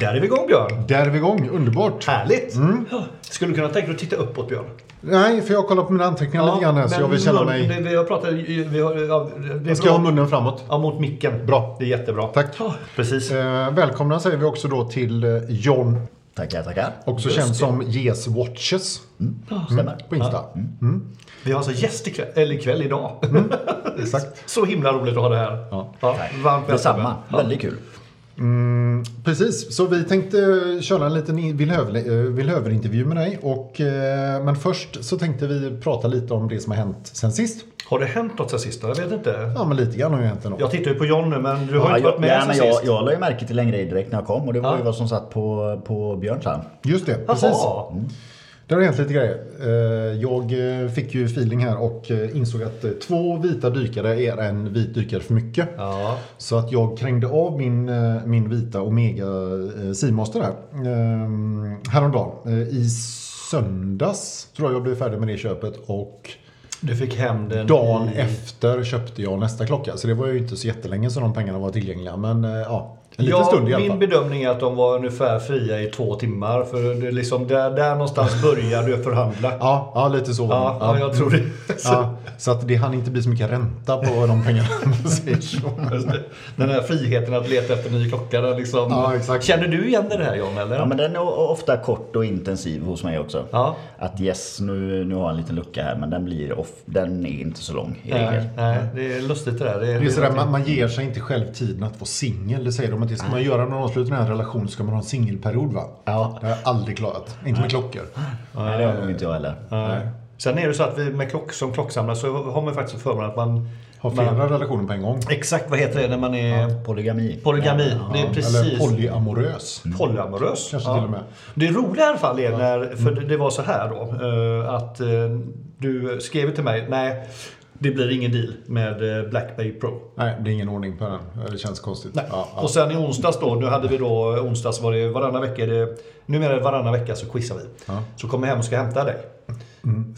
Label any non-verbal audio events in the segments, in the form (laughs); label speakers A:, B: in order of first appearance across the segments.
A: Där är vi igång Björn.
B: Där är vi igång, underbart.
A: Härligt.
B: Mm.
A: Skulle du kunna tänka dig att titta uppåt Björn?
B: Nej, för jag kollar på mina anteckningar lite grann här så
A: men
B: jag vill känna
A: mun-
B: mig...
A: det- Vi har pratat... Vi har, ja, det är
B: Jag ska ha
A: bra.
B: munnen framåt.
A: Ja, mot micken.
B: Bra.
A: Det är jättebra.
B: Tack.
A: Ja, precis.
B: Eh, välkomna säger vi också då till eh, John,
C: Tackar, tackar.
B: också
A: Just
B: känd
A: det.
B: som Yes Watches
A: Mm.
C: Stämmer.
B: på Insta.
A: Vi har alltså gäst ikväll, eller ikväll idag.
B: Mm,
A: (laughs)
B: Exakt.
A: Så himla roligt att ha det här.
B: Ja.
A: varmt
C: Detsamma. Väldigt kul.
B: Precis, så vi tänkte eh, köra en liten i- villhöver- eh, villhöverintervju med dig. Och, eh, men först så tänkte vi prata lite om det som har hänt sen sist.
A: Har det hänt något sen sist? då? Jag vet inte.
B: Ja, men lite grann har ju hänt ändå.
A: Jag tittar ju på John nu, men du har
C: Ja,
A: inte varit
C: jag,
A: med
C: ja,
A: sen
C: men jag,
A: sist.
C: jag la ju märke till en grej direkt när jag kom och det var
A: Ja.
C: ju vad som satt på, på Björns här.
B: Just det, precis.
A: Jaha.
B: Det har hänt lite grejer. Eh, Jag eh, fick ju feeling här och eh, insåg att eh, två vita dykare är en vit dykare för mycket.
A: Ja.
B: Så att jag krängde av min, eh, min vita Omega eh, Seamaster här ehm, häromdagen. Eh, I söndags tror jag jag blev färdig med det köpet och
A: Du fick hem den
B: dagen
A: i-
B: efter köpte jag nästa klocka. Så det var ju inte så jättelänge som de pengarna var tillgängliga. Men eh, ja, en liten
A: ja,
B: stund i alla
A: Min
B: fall.
A: bedömning är att de var ungefär fria i två timmar. För det är liksom där, där
B: (laughs)
A: någonstans börjar du förhandla. Ja,
B: Ja, ja, lite så.
A: ja,
B: Ja.
A: jag
B: (laughs)
A: tror det.
B: Ja, så att det hann inte bli så mycket ränta på de pengarna. om man säger så.
A: Just det. Den här friheten att leta efter en ny klocka. där Liksom.
B: Ja, exakt.
A: Känner du igen det här John? Eller?
C: Ja, men den är o- ofta kort och intensiv hos mig också.
A: Ja.
C: Att yes, nu, nu har jag en liten lucka här men den blir off. Den är inte så lång i regel.
A: nej, nej, det är lustigt det där. Det är,
B: Det är sådär, man, man ger sig inte själv tiden att vara singel. Det säger de att det ska man göra när man avslutar en relation ska man ha en singelperiod va?
C: Ja.
B: Det har jag aldrig klarat. Inte med klockor.
C: Nej, det har nog inte jag heller.
A: Nej. Sen är det så att vi med klock, som klocksamlare så har man faktiskt förmånen att man...
B: Har flera
A: man
B: relationer på en gång.
A: exakt vad heter det när man är
C: Polygami.
A: polygami? det är
B: Eller
A: precis.
B: polyamorös.
A: polyamorös.
B: Kanske till och med.
A: Det roliga i alla fall är när, för det- det var så här då, eh, att eh, du skrev till mig, nej det blir ingen deal med eh, Black Bay Pro.
B: Nej, det är ingen ordning på den. Det känns konstigt. Ja, ja.
A: Och sen i onsdags då, nu hade vi då eh, onsdags var det varannan vecka, är det, numera är det varannan vecka så quizar vi.
B: Ja.
A: Så kommer jag hem och ska hämta dig.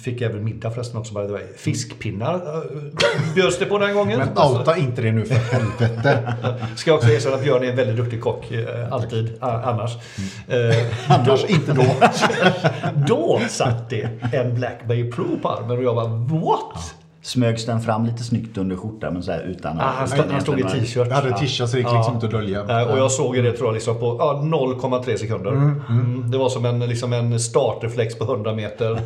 A: Fick även middag förresten också by the way. Fiskpinnar eh, bjöds det på den gången.
B: Men outa inte det nu för helvete.
A: Ska jag också erkänna att Björn är en väldigt duktig kock. eh, Alltid. a- Annars. Eh,
B: Mm. (laughs) Annars inte då.
A: (laughs) Då satt det en Black Bay Pro på armen och jag bara what?
C: Smögs den fram lite snyggt under skjortan men så här utan
A: Ah, han, stod, han stod i t-shirt.
B: Jag hade tischa så det gick liksom
A: Ja.
B: inte att dölja.
A: Eh, Och jag såg ju det tror jag liksom på ja, 0,3 sekunder. Mm, det var som en, liksom en startreflex på 100 meter.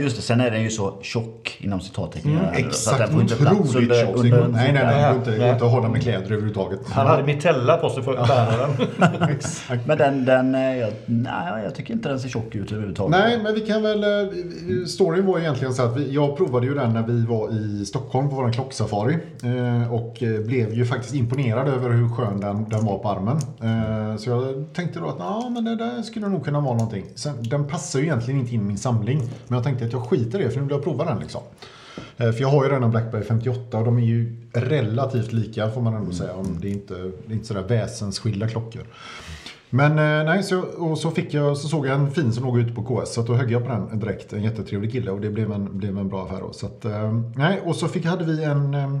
C: Just det, sen är den ju så tjock inom citattecken.
A: Mm,
C: så att
B: Exakt,
C: den får inte plats
B: otroligt
C: under,
B: tjock. Det går-
C: under,
B: Nej, nej, nej. Det går inte- det går
A: Nej.
B: inte att hålla med kläder överhuvudtaget.
A: Han hade Mitella på sig för att bära
B: (laughs)
A: den.
B: Exakt.
C: Men den, den eh, jag, nej, jag tycker inte den ser tjock ut överhuvudtaget.
B: Nej, men vi kan väl... eh, Storyn var egentligen så att vi, jag provade ju den när vi var i Stockholm på vår klocksafari. eh, Och eh, blev ju faktiskt imponerad över hur skön den, den var på armen. Eh, Så jag tänkte då att ja, men det där skulle nog kunna vara någonting. Sen, den passar ju egentligen inte in i min samling. Men jag tänkte att jag skiter i det för nu vill jag prova den liksom. Eh, För jag har ju redan en Blackberry 58 och de är ju relativt lika får man ändå säga. Om det, är inte, det är inte sådär väsensskilda klockor. Men eh, nej, så, och så, fick jag, så såg jag en fin som låg ute på KS så att då högg jag på den direkt. En jättetrevlig kille och det blev en, blev en bra affär. Då. Så att, eh, nej, och så fick, hade vi en, eh,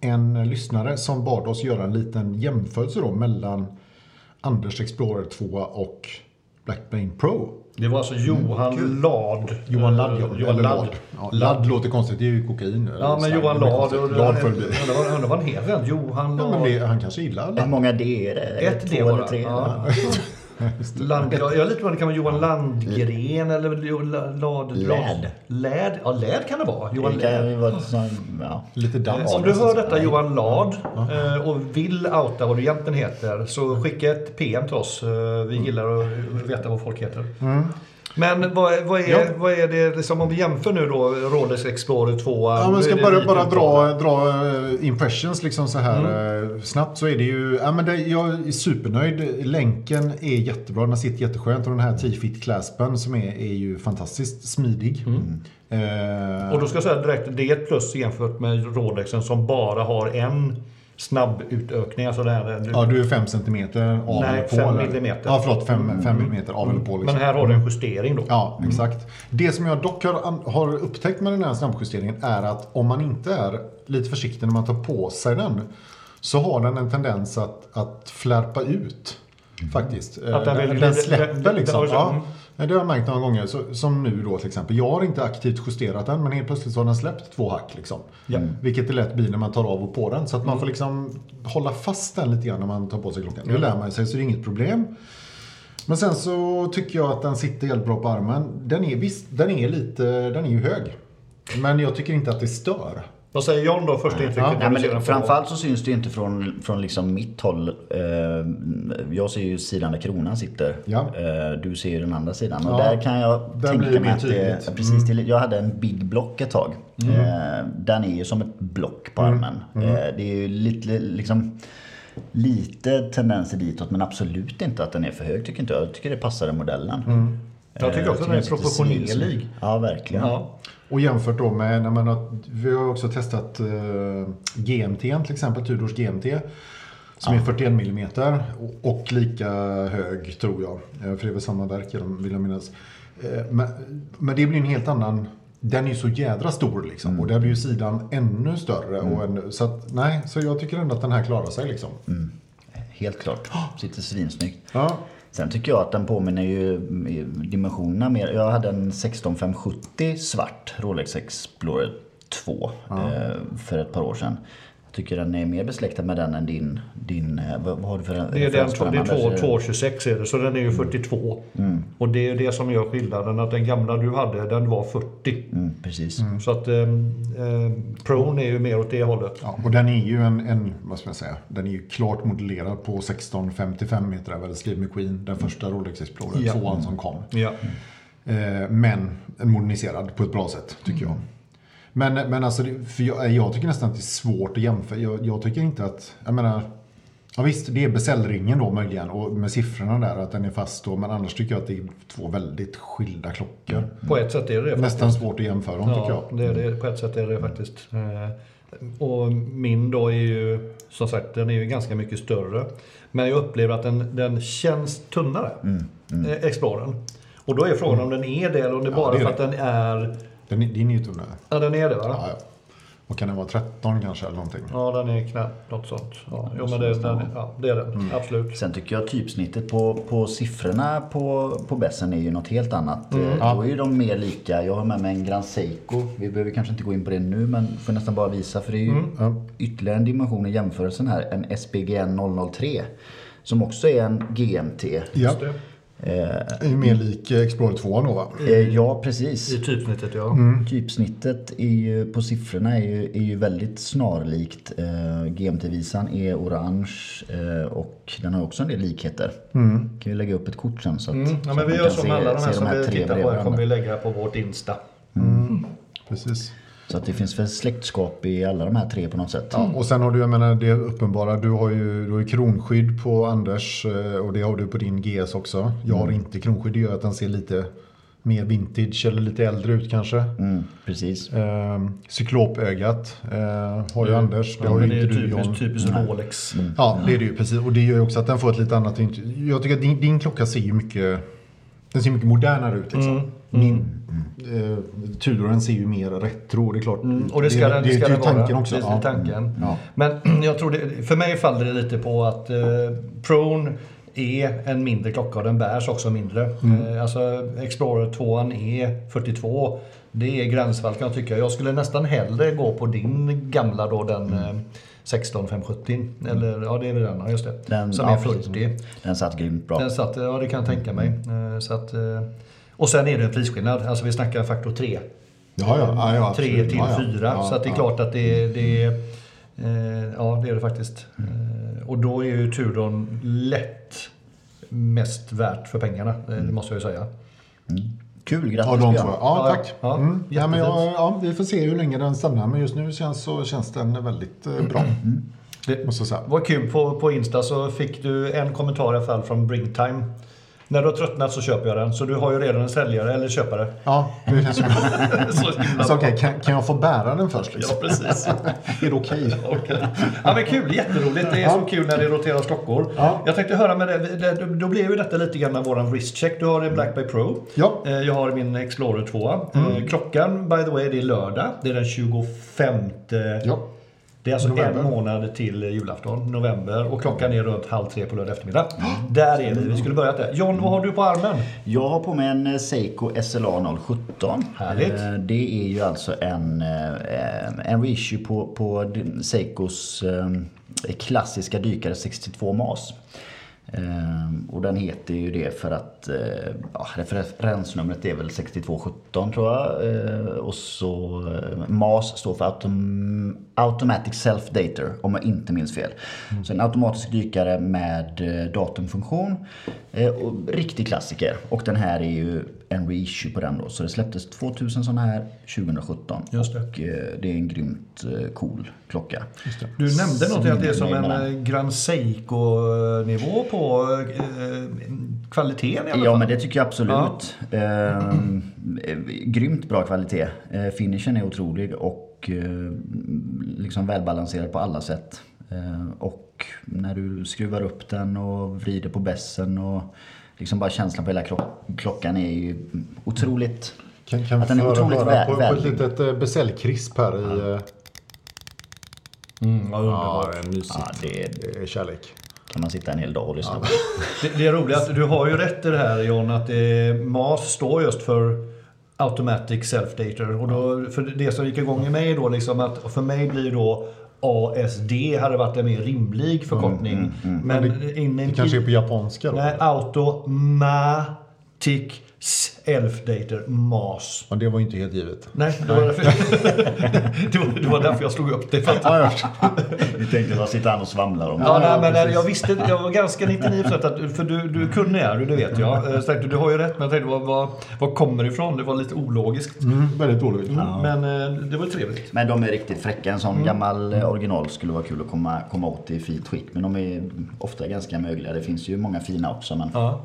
B: en lyssnare som bad oss göra en liten jämförelse då mellan Anders Explorer 2 och Blackbane Pro.
A: Det var alltså Johan Lard.
B: Johan Ladd,
A: Eh,
B: ja.
A: Johan
B: Eller Ladd.
A: Ladd.
B: Ja, Ladd låter konstigt, det är ju kokain.
A: Ja, men Johan Lard. och-
B: Ladd föll det.
A: Undrar vad- undrar vad han heter. Johan
B: Ja, men
A: Lard.
B: det, han kanske gillar
C: Hur
B: Ladd.
C: många D är det? Är det
A: Ett
C: två
A: D
C: eller
A: bara.
C: tre?
A: Ja. (laughs)
C: eller?
A: Land, jag, jag är lite orolig, det kan vara Johan Landgren eller Jo- La- Lad,
C: Läd.
A: Läd. Ja, Läd kan det vara. Johan
C: Det kan
A: Läd.
C: ju vara ett sånt- ja.
B: Lite dans.
A: Om du hör detta Johan Lard eh, och vill outa vad du egentligen heter så skicka ett PM till oss. Eh, Vi gillar att veta vad folk heter. Men vad, vad, är,
B: Ja.
A: vad är det, liksom, om vi jämför nu då Rolex Explorer 2.
B: Ja,
A: nu
B: men ska
A: är det
B: bara,
A: lite
B: bara
A: uttalat.
B: dra, dra eh, impressions liksom så här
A: Mm.
B: eh, snabbt så är det ju, ja men det, jag är supernöjd. Länken är jättebra, den sitter jätteskönt och den
A: Mm.
B: här 10 fit claspen som är, är ju fantastiskt smidig. Mm. Eh,
A: Mm. Och då ska jag säga direkt, det är ett plus jämfört med Rolexen som bara har en snabb utökning. Alltså det här, du,
B: ja, du är 5 cm av
A: Nej,
B: eller på.
A: fem
B: eller?
A: millimeter.
B: Ja, förlåt, 5 mm av eller på.
A: Men
B: Liksom.
A: här har du en justering då.
B: Ja, exakt. Det som jag dock har, an- har upptäckt med den här snabbjusteringen är att om man inte är lite försiktig när man tar på sig den så har den en tendens att, att flärpa ut. Faktiskt. Eh,
A: Att den
B: den,
A: vill-
B: den
A: den-
B: släpper
A: den-
B: liksom.
A: den- Mm.
B: Ja, det har jag märkt några gånger. Så, som nu då till exempel. Jag har inte aktivt justerat den men helt plötsligt så har den släppt två hack. Liksom.
A: Ja. Mm.
B: Vilket det lätt blir när man tar av och på den. Så att man får liksom hålla fast den lite grann när man tar på sig klockan. Det lär man sig så det är inget problem. Men sen så tycker jag att den sitter helt bra på armen. Den är visst, den är lite, den är ju hög. Men jag tycker inte att det stör.
A: Vad säger John då, första intrycket? när
C: Nej,
A: du
C: men
A: ser den
C: det,
A: på-
C: framförallt så syns det ju inte från, från liksom mitt håll. Eh, Jag ser ju sidan där kronan sitter.
B: Ja.
C: Eh, Du ser ju den andra sidan. Och
B: Ja.
C: där kan jag
B: Där blir det
C: tänka mig
B: mer
C: att det,
B: tydligt.
C: precis till, Jag hade en big block ett tag. Eh, Den är ju som ett block på armen. Eh, Det är ju lite liksom Lite tendenser ditåt men absolut inte att den är för hög tycker inte jag. Jag tycker det passade modellen.
A: Jag tycker
C: Eh,
A: också att den är
C: sitter
A: proportionerlig.
C: snygg. Ja, verkligen.
A: Ja.
B: Och jämfört då med, när man har, vi har också testat eh, GMT till exempel, Tudors GMT. Som är 41 mm och, och lika hög tror jag. Eh, För det är väl samma verk jag vill jag minnas. Eh, Men, men det blir en helt annan, den är ju så jädra stor liksom. Och där blir ju sidan ännu större. Och ännu, så att, nej, så jag tycker ändå att den här klarar sig liksom.
C: Helt klart. Sitter svinsnyggt.
B: Ja.
C: Sen tycker jag att den påminner ju dimensionerna mer. Jag hade en 16570 svart Rolex Explorer 2 eh, för ett par år sedan. Jag tycker den är mer besläktad med den än din. din eh, vad, vad har du för
A: Det är, den,
C: referens på
A: två- det är
C: Anders?
A: två- 226 är det, så den är ju
C: Mm.
A: 42. Och det är det som gör skillnaden, att den gamla du hade, den var 40.
C: Mm, precis.
A: Så att eh, eh, Pron är ju mer åt det hållet.
B: Ja, och den är ju en, en, vad ska man säga, den är ju klart modellerad på 1655 heter det väl, Steve McQueen, den första Rolex Explorer,
A: Ja.
B: tvåan som kom.
A: Ja.
B: Eh, men moderniserad på ett bra sätt tycker jag. Men, men alltså, det- för jag, jag tycker nästan att det är svårt att jämföra. Jag, jag tycker inte att, jag menar, ja visst det är beställringen då möjligen och med siffrorna där att den är fast då. Men annars tycker jag att det är två väldigt skilda klockor.
A: På ett sätt är det det.
B: Nästan svårt att jämföra dem tycker jag.
A: Ja, det är det, på ett sätt är det faktiskt. Eh, Och min då är ju, som sagt, den är ju ganska mycket större. Men jag upplever att den, den känns tunnare,
B: Mm,
A: eh, Explorern. Och då är frågan om den är det eller om det
B: Ja,
A: bara
B: det är
A: för att den är...
B: Den, är- din är ju tunnare.
A: Ja, den är det va?
B: Ja, ja. Vad kan den vara, 13 kanske eller någonting?
A: Ja, den är knappt något sånt. Ja, jo, men det, den, ja, det är den.
B: Mm.
A: Absolut.
C: Sen tycker jag typsnittet på, på siffrorna på, på bässen är ju något helt annat. Eh, Då är ju de mer lika. Jag har med mig en Grand Seiko. Vi behöver kanske inte gå in på det nu men får nästan bara visa för det är ju ytterligare en dimension i jämförelsen här. En SPGN 003 som också är en GMT.
B: Ja.
A: Just det.
B: Det är ju mer lik eh, Explorer 2 då va?
C: Eh, Ja precis.
A: I typsnittet ja.
B: Mm.
C: Typsnittet är ju, på siffrorna är ju, är ju väldigt snarlikt. Eh, GMT-visan är orange eh, och den har också en del likheter. Kan vi lägga upp ett kort sen så att,
A: Mm.
C: så
A: Ja,
C: att
A: men vi
C: man
A: gör
C: kan
A: som
C: se-
A: alla de
C: se
A: här som vi tittar
C: tre bredvid
A: på här
C: varandra.
A: kommer vi lägga på vårt Insta.
B: Precis.
C: Så att det finns väl släktskap i alla de här tre på något sätt.
B: Ja, och sen har du, jag menar det uppenbara, du har ju, du har ju kronskydd på Anders eh, och det har du på din GS också. Jag
A: Mm.
B: har inte kronskydd, det gör att den ser lite mer vintage eller lite äldre ut kanske.
C: Mm, precis.
B: Ehm, cyklopögat eh, har ju Anders,
A: Mm.
B: det
A: Ja,
B: har
A: men
B: ju
A: det
B: inte
A: är
B: du John.
A: typiskt, typiskt Rolex.
B: Ja, det är det ju precis. Och det gör ju också att den får ett lite annat intryck. Jag tycker att din, din klocka ser ju mycket, den ser mycket modernare ut. Liksom.
A: Mm,
B: Min eh, Tudoren ser ju mer retro, det är klart.
A: Mm, Och det ska
B: det,
A: den,
B: det,
A: ska
B: är ju
A: den vara.
B: tanken också.
A: Det är
B: ja. Mm.
A: tanken.
B: Ja.
A: Men (clears throat) jag tror det, för mig faller det lite på att eh, Prone är en mindre klocka och den bärs också mindre.
B: Mm.
A: Eh, alltså Explorer 2 är 42. Det är gränsfall kan jag tycka. Jag skulle nästan hellre gå på din gamla då den
B: Mm.
A: eh, 16570. Eller ja, det är väl den, ja, just det.
C: Den-
A: som
C: ja,
A: är 40.
C: Den satt grymt bra.
A: Den satt, ja det kan jag tänka mig.
B: Mm.
A: Eh, så att, eh, och sen är det en prisskillnad. Alltså vi snackar faktor 3
B: Ja, ja, ja, ja,
A: tre
B: absolut.
A: till
B: ja, ja.
A: fyra.
B: Ja,
A: så att det är
B: ja.
A: klart att det, det är... Eh, ja, det är det faktiskt.
B: Mm.
A: Eh, och då är ju Tudorn lätt mest värt för pengarna, eh,
B: Mm.
A: det måste jag ju säga.
C: Kul,
B: Ja,
C: grattis
B: de
C: Björn.
B: två. Ja,
A: Ja,
B: tack.
A: ja,
B: mm. ja, men jag,
A: jättefint.
B: ja, vi får se hur länge den stannar, men just nu känns, så känns den väldigt eh, bra.
A: Mm. Det
B: Måste jag säga.
A: var kul, på, på Insta så fick du en kommentar i alla fall från Bringtime. När du har tröttnat så köper jag den. Så du har ju redan en säljare eller köpare.
B: (laughs) Ja, det
A: (laughs)
B: känns ju bra.
A: Så himla
B: Så,
A: bra.
B: okej, kan, kan jag få bära den först?
A: Ja,
B: Liksom?
A: precis.
B: Är det okej?
A: Ja, men kul, jätteroligt. Det är så kul när det roterar klockor.
B: Ja.
A: Jag tänkte höra med dig, det- då- då blev ju detta lite grann våran wristcheck. Du har en Black Bay Pro.
B: Ja.
A: Eh, Jag har min Explorer
B: Mm.
A: 2. Eh, Klockan, by the way, det är lördag. Det är den 25
B: Ja.
A: Det är alltså
B: November.
A: en månad till julafton, november. Och klockan är runt halv tre på lördag eftermiddag. Där är vi. Vi skulle börjat där. John, vad har du på armen?
C: Jag har på mig en eh, Seiko SLA 017.
A: Härligt.
C: Eh, Det är ju alltså en, eh, en reissue på, på d- Seikos eh, klassiska dykare 62 MAS. Eh, Och den heter ju det för att eh, ja, referensnumret är väl 6217 tror jag. Eh, Och så eh, MAS står för autom- Automatic Self Dater om jag inte minns fel. Så en automatisk dykare med eh, datumfunktion. Eh, Och riktig klassiker. Och den här är ju en reissue på den då. Så det släpptes 2000 sådana här 2017.
A: Just det.
C: Och eh, det är en grymt eh, cool klocka.
A: Du nämnde någonting att det är som en
C: Singeln.
A: eh, Grand Seiko-nivå på eh, kvaliteten i alla
C: Ja,
A: fall.
C: men det tycker jag absolut. Ehm, Eh, grymt bra kvalitet. Eh, finishen är otrolig och eh, liksom välbalanserad på alla sätt. Eh, och när du skruvar upp den och vrider på bässen och liksom bara känslan på hela kro- klockan är ju otroligt.
B: Kan, kan vi
C: Att den är
B: få höra-
C: otroligt
B: höra
C: vä-
B: på, på ett
C: välbyggd.
B: litet eh, beställkrisp här i... eh,
A: Mm, vad underbart.
B: Ja, det är mysigt.
C: Ja, det
B: Det är eh, kärlek.
C: kan man sitta en hel dag och lyssna på. (laughs)
A: Det, det är roligt att du har ju rätt i det här John, att det, MAS står just för Automatic Self-Dater. Och då, för det som gick igång i mig då, liksom att för mig blir då ASD hade varit en mer
B: Mm,
A: rimlig förkortning. Men, inne i...
B: Det
C: Mm.
B: kanske är på japanska då?
A: Nej, Automatic Self-Dater, MAS.
B: Ja, det var ju inte helt givet.
A: Nej, det var, därför, (laughs) det, var, det var därför jag slog upp det. För att,
B: Ja,
C: Vi tänkte bara sitta här och svamla om
A: Ja,
B: Ja,
A: nej, men eh,
B: precis.
A: jag visste, jag var ganska 99% att, för du, du kunde är du, det vet jag. Eh, Så tänkte, du har ju rätt, men jag tänkte, vad, vad, vad kommer det ifrån? Det var lite ologiskt.
B: mm, väldigt dåligt.
A: Men eh, det var trevligt.
C: Men de är riktigt fräcka. En sån gammal eh, original skulle vara kul att komma, komma åt i fint skick. Men de är ofta ganska mögliga. Det finns ju många fina också. Men...
A: Ja.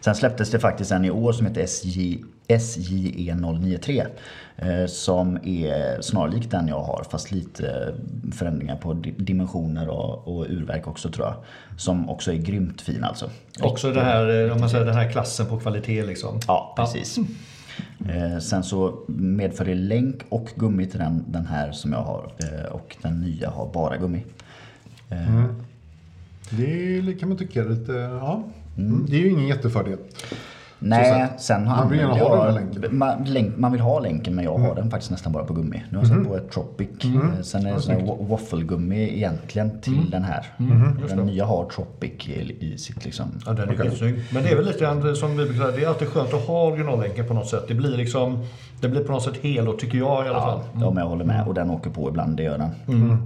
C: Sen släpptes det faktiskt en i år som heter SJ, SJE 093. Eh, som är snarlik den jag har fast lite eh, förändringar på di- dimensioner och, och urverk också tror jag. Som också är grymt fin alltså.
A: Också den här, eh, om man säger, den här klassen på kvalitet liksom.
C: Ja, precis. Eh, sen så medför det länk och gummi till den, den här som jag har eh, och den nya har bara gummi. Eh,
B: Det är- kan man tycka är lite... Ja. Mm. Det är ju ingen jättefördel.
C: Nej,
B: Så att
C: sen har
B: man vill gärna ha
C: jag-
B: den här länken. Mm.
C: Man, länk, man vill ha länken men jag har den faktiskt nästan bara på gummi. Nu har jag satt på ett Tropic. Eh, Sen är det sån här wa- waffelgummi egentligen till
B: Mm.
C: den här. Den nya har Tropic i, i sitt liksom...
A: Ja, den är
B: Okej.
A: skitsnygg. Men det är väl lite grann som vi brukar säga, det är alltid skönt att ha originallänken på något sätt. Det blir liksom, det blir på något sätt hel och tycker jag i alla fall.
C: Ja, men jag håller
B: Mm.
C: med. Och den åker på ibland, det gör den.
A: Ja,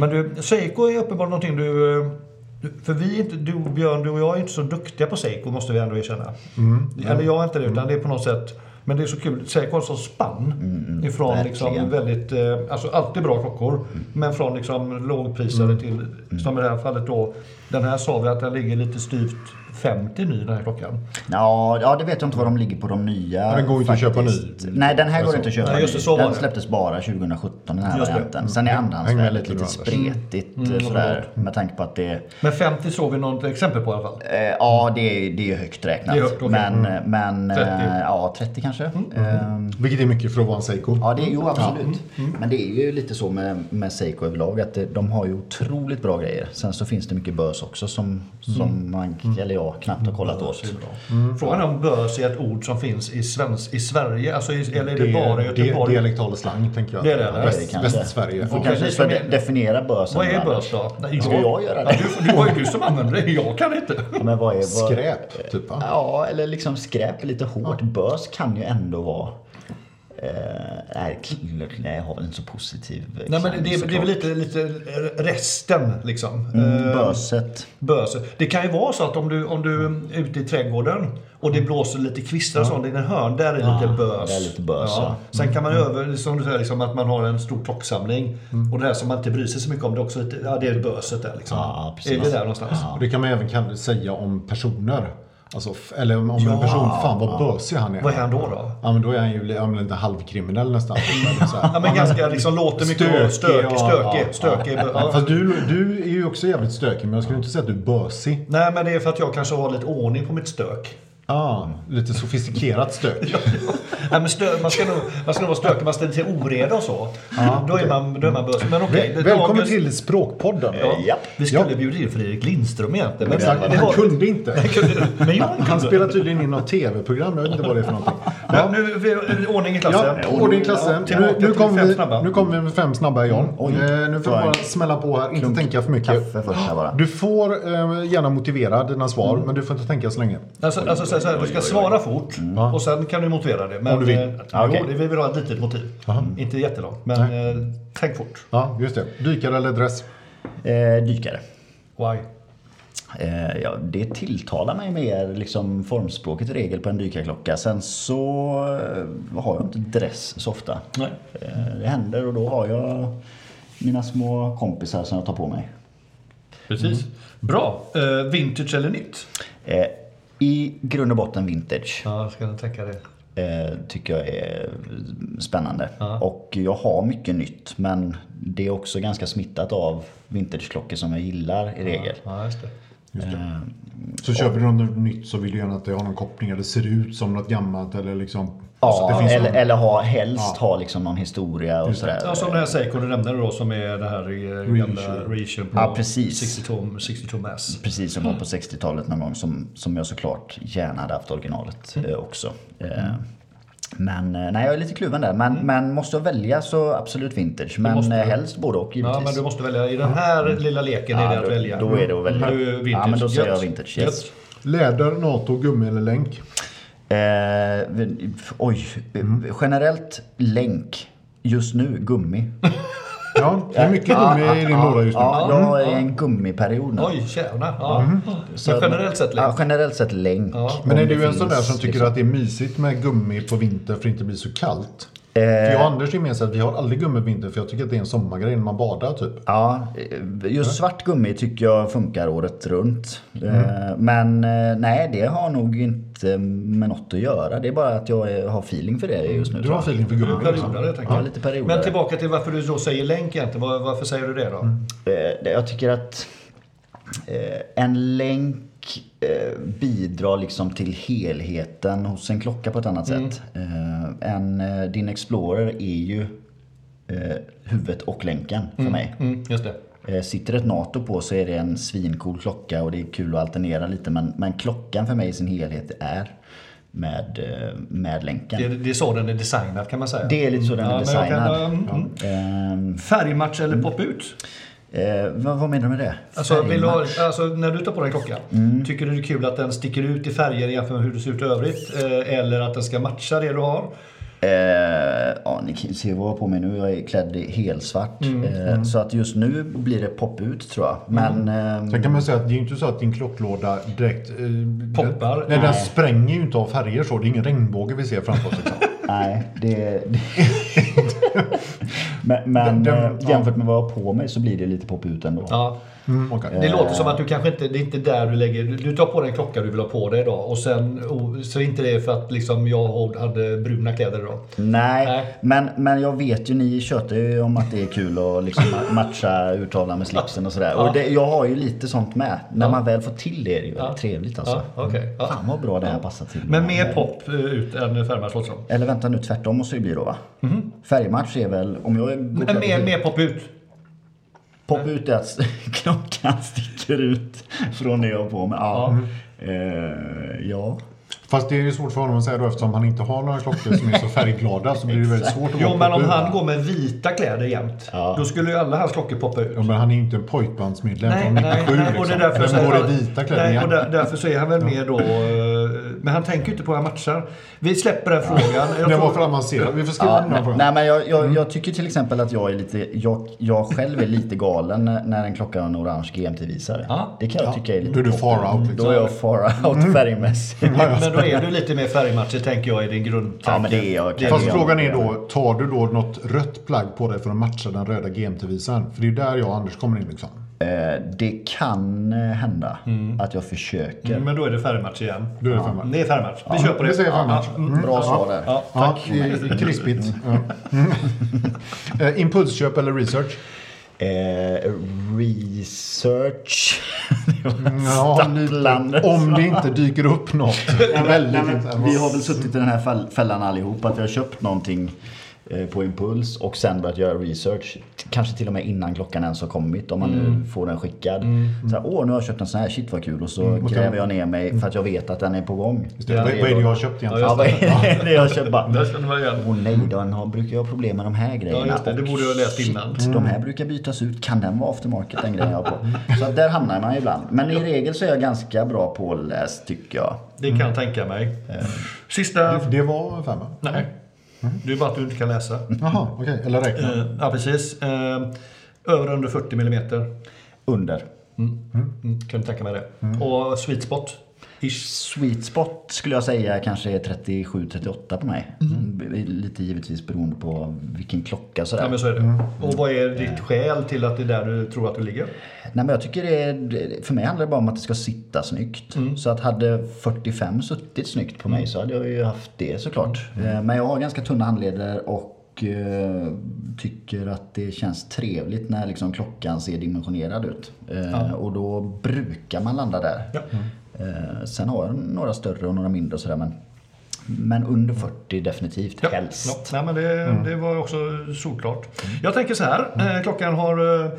A: Men du, Seiko är uppenbarligen någonting du... eh, du- För vi är inte, du Björn, du och jag är inte så duktiga på Seiko måste vi ändå erkänna.
B: Mm.
A: Eller jag är inte det, utan
C: Mm.
A: det är på något sätt... Men det är så kul, Seiko har så spann. ifrån liksom
C: mm. verkligen. Mm.
A: väldigt, eh, alltså alltid bra klockor. Men från liksom lågprisade till, som i det här fallet då. Den här sa vi att den ligger lite styvt 50 ny den här klockan.
C: Ja, ja, det vet jag inte vad de ligger på de nya.
B: Ja, den går ju inte att
C: faktiskt.
B: köpa ny.
C: Nej, den här går
B: Alltså.
C: inte att köpa
A: Nej, just det, så
C: ny.
A: var
C: Den
A: det.
C: släpptes bara 2017, den här
A: Just det.
C: varianten. Sen är
B: Häng med
C: andrahandsvärdet
B: Mm. lite Mm,
C: lite
B: nu,
C: spretigt eh, sådär. Med tanke på att det...
A: Men 50 såg vi något exempel på i alla fall.
C: Eh, ja, det är, det är högt räknat.
A: Det är högt, okej. Mm.
C: Men, men
A: 30.
C: Eh, ja, 30 kanske. Ehm,
B: Vilket är mycket för att vara en Seiko.
C: Ja, det, jo absolut.
A: Mm.
C: Men det är ju lite så med, med Seiko överlag att det, de har ju otroligt bra grejer. Sen så finns det mycket bös också
A: Mm.
C: som, som man, eller jag, knappt har kollat åt. Mm.
A: Mm. Frågan är om bös är ett ord som finns i, svensk, i Sverige, alltså, i, eller är det, bara i
B: det, det
A: Göteborg?
B: dialektal slang tänker jag.
A: Det är det, eller?
B: Väst,
C: Det kanske.
B: Västsverige.
C: Och
A: Okej,
C: kanske
A: lite
C: ska
A: mer-
C: de, definiera bösen.
A: Vad är
C: då,
A: bös då? Nej,
C: Ska jag göra det?
A: Ja, du, det var ju du som använde det, jag kan inte.
C: Ja, men vad är, vad, Eh,
B: Skräp, typ. va?
C: Ja, eller liksom skräp är lite hårt. Bös kan ju ändå vara... Eh, nej, kling- nej, jag har väl inte så positiv eh,
A: Nej, men
C: klang
A: det, är- det är
C: såklart. Mm,
A: väl lite, lite resten liksom. Eh,
C: Böset.
A: Bös. Det kan ju vara så att om du, om du är ute i trädgården och det blåser lite kvistar och sånt i en hörn, där är det lite bös.
C: Mm. där är lite bös, ja. Mm,
A: Sen kan man ju över, som du säger, liksom, att man har en stor klocksamling
C: Mm.
A: och det här som man inte bryr sig så mycket om, det är också lite, ja det är böset där liksom.
C: Ja, precis.
A: Är det där någonstans?
B: Och det kan man även kan säga om personer. Alltså, f- eller om, om en person, fan vad bösig han är.
A: Vad är han då då?
B: Ja men då är han ju li- ja, men lite halvkriminell nästan.
C: (laughs)
B: Eller så här.
A: Ja, men ganska liksom låter mycket stökig,
B: Stökig
A: stökig,
B: och-
A: stökig,
B: ja,
A: stökig. bö-
B: Ja,
A: ja.
B: Fast du, du är ju också jävligt stökig men jag skulle inte säga att du är bösig.
A: Nej, men det är för att jag kanske har lite ordning på mitt stök.
B: Ah, lite sofistikerat stök.
A: Nej, men stö, man, ska nog, man ska nog vara stökig, man ställer till oreda och så. då, är man, då är man bös. Men okej.
B: Väl- Välkommen
A: dagens-
B: till Språkpodden.
A: Ja,
C: Japp.
A: Vi skulle
B: Ja.
A: bjuda in Fredrik Lindström egentligen. Men,
B: Exakt,
A: (laughs) det
B: han
A: har-
B: kunde inte.
A: Men jag
B: Han
A: kunde.
B: spelar tydligen in något tv-program, jag vet inte vad det är för någonting.
A: Ja, nu vi- ordning i klassen.
B: Ja, ordning i klassen. Nu,
A: Tillbaka
B: nu
A: till
B: kommer
A: fem
B: vi,
A: snabba. Mm.
B: nu kommer vi med fem snabba John.
C: Oj.
B: Eh, nu får du
C: Oj.
B: bara smälla på här, inte tänka för mycket.
C: Kaffe först här bara.
B: Du får eh, gärna motivera dina svar,
A: Mm.
B: men du får inte tänka så länge.
A: Alltså, alltså så här, så här, du ska svara fort och sen kan du motivera det. Men,
B: Mm. Om du vill.
A: eh,
C: Ah, okej.
A: Jo, det, vi vill ha ett litet motiv. Inte jättelångt, men eh, tänk fort.
B: Ja, just det. Dykare eller dress?
C: Eh, dykare.
A: Why?
C: Eh, ja, det tilltalar mig mer liksom formspråket i regel på en dykarklocka. Sen så eh, har jag inte dress så ofta.
A: Nej.
C: Eh, det händer och då har jag mina små kompisar som jag tar på mig.
A: Precis.
B: Mm.
A: Bra. Eh, vintage eller nytt?
C: Eh, I grund och botten vintage.
A: Ja, jag ska tänka det.
C: eh, tycker jag är spännande. Och jag har mycket nytt men det är också ganska smittat av vintageklockor som jag gillar i regel.
A: Ja, just det.
C: Eh,
B: Så köper du något nytt så vill du gärna att det har någon koppling eller ser ut som något gammalt eller liksom. så att
C: Ja,
B: det finns
C: eller,
B: någon-
C: eller ha, helst ha liksom någon historia och sådär.
A: Ja, som den här Seiko du nämnde då som är det här eh, gamla Reacher på
C: Ja, precis. Mm,
A: 62, 62 mass.
C: Precis som var på 60-talet någon gång som, som jag såklart gärna hade haft originalet eh, också. Eh, men eh, nej, jag är lite kluven där. Men, men måste jag välja så absolut vintage. Men
A: måste
C: eh,
A: du.
C: helst både och givetvis.
A: Ja, men du måste välja. I den här lilla leken är
C: Mm. Ja,
A: det att
C: då-
A: välja.
C: då är det att välja.
A: Nu är vintage.
C: Ja, men då säger jag
A: Gött.
C: vintage, yes.
A: Gött.
B: Läder, NATO, gummi eller länk?
C: Eh, vi- f- oj. Eh, Generellt länk. Just nu gummi.
B: Ja, det är mycket gummi i din låda just nu. Mm.
C: Ja, jag är i en gummiperiod nu.
A: Oj, tjäna. Ja.
C: Så
A: Men
C: att-
A: generellt sett länk.
C: Mm. Ja, generellt sett länk.
A: Ja.
B: Men
C: Om
B: är du en
C: finns,
B: sån där som tycker
C: liksom.
B: att det är mysigt med gummi på vintern för att det inte blir så kallt?
C: Eh.
B: För jag och Anders är gemensamt, vi har aldrig gummi på vintern för jag tycker att det är en sommargrej när man badar typ.
C: Ja, eh, just svart gummi tycker jag funkar året runt. Eh, Men eh, nej, det har nog inte med något att göra. Det är bara att jag är- har feeling för det just nu.
B: Du
C: tror
B: har
C: jag.
B: feeling för gummi. liksom.
A: Perioder, helt enkelt.
C: Ja, lite perioder.
A: Men tillbaka till varför du då säger länk egentligen. Var- Varför säger du det då?
C: Eh, Jag tycker att eh, en länk eh, bidrar liksom till helheten hos en klocka på ett annat sätt. Eh, En, eh, din Explorer är ju eh, huvudet och länken för mig.
A: Mm, just det.
C: Eh, Sitter ett NATO på så är det en svincool klocka och det är kul att alternera lite men, men klockan för mig i sin helhet är med, eh, med länken.
A: Det är, det är så den är designad kan man säga.
C: Det är lite så den är
A: men jag kan-
C: designad.
A: mm, mm.
C: Ehm,
A: Färgmatch eller pop ut?
C: eh, vad, vad menar du med det?
A: Alltså, vill du ha,
C: Färgmatch?
A: alltså, när du tar på dig en klocka,
C: Mm.
A: tycker du det är kul att den sticker ut i färger jämfört med hur det ser ut i övrigt? eh, Eller att den ska matcha det du har?
C: Eh, ja, ni kan se vad jag har på mig nu. Jag är klädd i helsvart.
A: Mm,
C: Eh, Så att just nu blir det pop-ut tror jag.
A: Mm.
C: Men ehm,
B: Sen kan man säga att det är ju inte så att din klocklåda direkt... Eh,
A: Poppar.
B: Den, nej, den spränger ju inte av färger så. Det är ingen regnbåge vi ser framför oss.
C: (laughs)
B: Liksom.
C: nej, det...
A: (laughs)
C: det (laughs) men
B: Den-
C: men
B: den-
C: eh, jämfört med vad jag har på mig så blir det lite pop-ut ändå.
A: Ja.
B: Mm, Okej.
A: Det låter som att du kanske inte, det är inte där du lägger, du- du tar på dig en klocka du vill ha på dig idag och sen, och, så är inte det för att liksom jag hade bruna kläder idag.
C: Nej,
A: Nej.
C: Men, men jag vet ju, ni tjötar ju om att det är kul att liksom ma- matcha urtavlan med slipsen och sådär.
A: Ja.
C: Och det, jag har ju lite sånt med. När man väl får till det är det ju väldigt trevligt alltså.
A: Ja, okej. Ja.
C: Fan vad bra det här passar till.
A: Men mer pop eh, ut än färgmatch låter det som.
C: Eller vänta nu, tvärtom måste det bli då va? Färgmatch är väl, om jag...
A: Mhm. Men mer, mer pop ut.
C: Pop ut är att (laughs) klockan sticker ut från det jag har på mig. Ja. Eh, ja.
B: Fast det är ju svårt för honom att säga då eftersom han inte har några klockor som
A: (laughs)
B: är så färgglada så blir det väldigt svårt att
A: Jo,
B: vara
A: men om
B: populär.
A: han går med vita kläder jämt, då skulle ju alla hans klockor poppa ut.
B: Ja, men han är ju inte en pojkbandsmedlem från 97
A: och det är
B: liksom.
A: därför
B: Eller
A: så är
B: går
A: han-
B: i vita kläder
A: nej, och
B: igen.
A: där, därför så är han väl mer då... eh, Men han tänker ju inte på hur han matchar. Vi släpper den frågan. Jag
B: Det var
A: tror-
B: för avancerat. Vi får skriva
C: Ja,
B: ja,
C: nej,
B: den frågan.
C: nej, men jag, jag, jag tycker till exempel att jag är lite, jag, jag själv är lite galen när när en klocka har en orange GMT-visare.
A: Ja.
C: Det kan jag tycka är lite
B: Då är du
C: pop.
B: far out, liksom.
C: Då är jag far out färgmässigt.
A: Men då är du lite mer färgmatchig tänker jag i din grundtanke.
C: Ja, men det är jag.
A: Det är
B: Fast
A: du.
C: jag.
B: frågan är då, tar du då något rött plagg på dig för att matcha den röda GMT-visaren? För det är ju där jag och Anders kommer in liksom.
C: Eh, det kan eh, hända att jag försöker.
A: Men då är det färgmatch igen.
B: Du är det femma.
A: Det är färgmatch. Vi kör på det.
B: Vi säger femma.
A: Ja, mm.
C: Bra svar där.
A: Ja.
B: Mm. (laughs) Ja, det är krispigt. Ja. Mm. Eh, Impulsköp eller research?
C: Eh, research. (laughs) Det var
B: Ja,
C: stapplande.
B: (laughs) om det inte dyker upp något.
C: (laughs) Nej, men, nej,
B: Väldigt
C: men,
B: intressant.
C: vi har väl suttit i den här fäll- fällan allihop. Att vi har köpt någonting eh, på impuls och sen börjat göra research. T- Kanske till och med innan klockan ens har kommit om man nu får den skickad. Så här, Åh, nu har jag köpt en sån här. Shit vad kul. Och så gräver jag ner mig för att jag vet att den är på gång.
B: Just det, Vad vad är det jag har köpt
C: Ja,
B: egentligen?
C: vad (laughs) är det jag köper?
A: Där känner man igen.
C: Åh nej, den har, brukar jag ha problem med de här grejerna.
A: just det. Det
C: Och
A: borde jag ha läst innan.
C: Shit, de här brukar bytas ut. Kan den vara aftermarket den grejen jag har på? Så att där hamnar man ju ibland. Men i regel så är jag ganska bra påläst tycker jag.
A: Det kan jag tänka mig. Sista...
B: Det var femman.
A: Nej. Det är bara att du inte kan läsa.
B: Jaha, okej. Eller räkna.
A: Eh, Ja, precis. Eh, Över och under 40 millimeter.
C: Under.
A: Mm, kunde tänka mig det. Och sweet spot. Ish.
C: Sweet spot skulle jag säga kanske är 37-38 på mig. B- Lite givetvis beroende på vilken klocka sådär.
A: Mm. Ja, men så är det. Och vad är ditt skäl till att det är där du tror att du ligger?
C: Nej, men jag tycker det är, för mig handlar det bara om att det ska sitta snyggt. Så att hade 45 suttit snyggt på mig så hade jag ju haft det såklart. Eh, Men jag har ganska tunna handleder och eh, tycker att det känns trevligt när liksom klockan ser dimensionerad ut. Eh, Och då brukar man landa där.
A: Ja.
C: Eh, Sen har jag några större och några mindre och sådär men, men under 40 definitivt
A: Ja,
C: helst.
A: ja. Mm. Nej, men det, det var också solklart. Jag tänker så här. Eh, klockan har eh,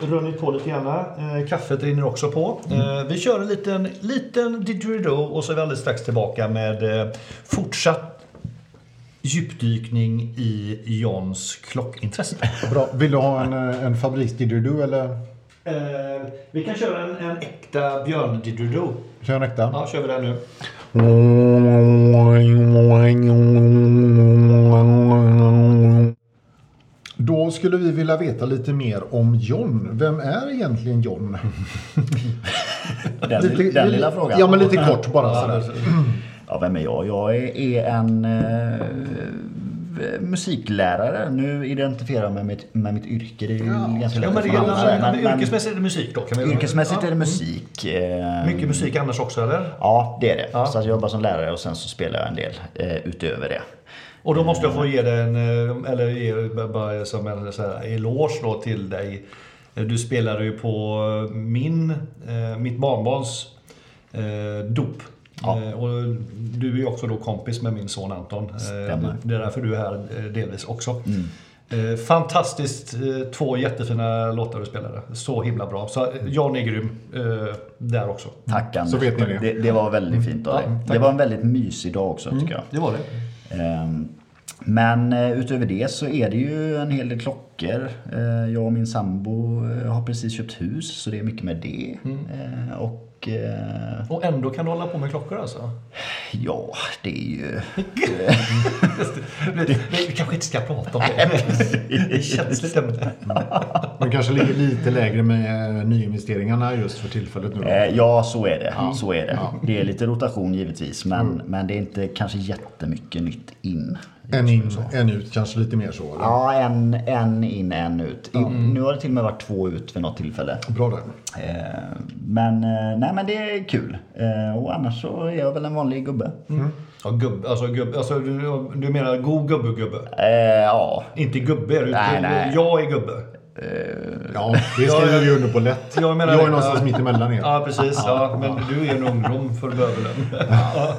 A: runnit på lite grann. Eh, kaffet rinner också på. Eh, vi kör en liten, liten didgeridoo och så är vi alldeles strax tillbaka med eh, fortsatt djupdykning i Johns klockintresse.
B: Bra. Vill du ha en, eh, en fabriksdidgeridoo eller
A: (laughs) Eh, vi kan köra en, en äkta björn-didgeridoo.
B: kör jag en äkta?
A: Ja, kör vi den nu.
B: Då skulle vi vilja veta lite mer om John. Vem är egentligen John?
C: Den, den lilla frågan.
B: Ja, men lite kort bara.
A: Ja,
B: sådär.
C: Ja, vem är jag? Jag är, är en eh, musiklärare. Nu identifierar jag mig med, mitt- med mitt yrke. Det är ju ganska lätt
A: men
C: att
A: det
C: få hamna där.
A: gäller,
C: Men- men
A: yrkesmässigt är det musik då? Kan vi
C: Yrkesmässigt
A: Ja.
C: är det musik. eh,
A: Mycket musik annars också eller?
C: Ja, det är det. Så att jag jobbar som lärare och sen så spelar jag en del eh, utöver det.
A: Och då måste jag få ge dig en, eh, eller ge dig b- bara som en så här, eloge då till dig. Eh, Du spelade ju på min, eh, mitt barnbarns eh, dop.
C: Ja.
A: Eh, Och du är ju också då kompis med min son Anton. Eh,
C: Stämmer.
A: Det är därför du är här eh, delvis också. Eh, Fantastiskt, eh, två jättefina låtar du spelade. Så himla bra. Så eh, John är grym eh, där också.
C: Tack Anders.
B: Så vet ni det.
C: det. Det var väldigt fint av
A: Ja,
C: dig.
A: tack. Mm.
C: Det var en väldigt mysig dag också tycker jag.
A: Det var det.
C: Ehm, Men eh, utöver det så är det ju en hel del klockor. Eh, Jag och min sambo eh, har precis köpt hus så det är mycket med det. Eh, Och eh,
A: Och ändå kan du hålla på med klockor alltså?
C: ja, det är ju...
A: Men Vi kanske inte ska prata om det. Det känns lite...
B: De kanske ligger lite lägre med eh, nyinvesteringarna just för tillfället nu. då.
C: Eh, Ja, så är det. Så är det. det är lite rotation givetvis men, men det är inte kanske jättemycket nytt in.
B: En in, en ut, kanske lite mer så. Eller?
C: Ja, en, en in, en ut. I, Nu har det till och med varit två ut vid något tillfälle.
B: Bra där.
C: Eh, Men, eh, nej, men det är kul. Eh, Och annars så är jag väl en vanlig gubbe.
A: Ja, gubb, alltså, gubb, alltså, du, du menar god gubbe-gubbe?
C: Eh, ja.
A: Inte gubbe, utan
C: Nej, nej.
A: jag är gubbe.
B: Ja, det skriver vi under på lätt.
A: Jag menar
B: jag
A: det.
B: är någonstans
A: Ja.
B: mitt emellan er.
A: Ja, precis. Ja, men du är en ungdom för bövelen. Ja.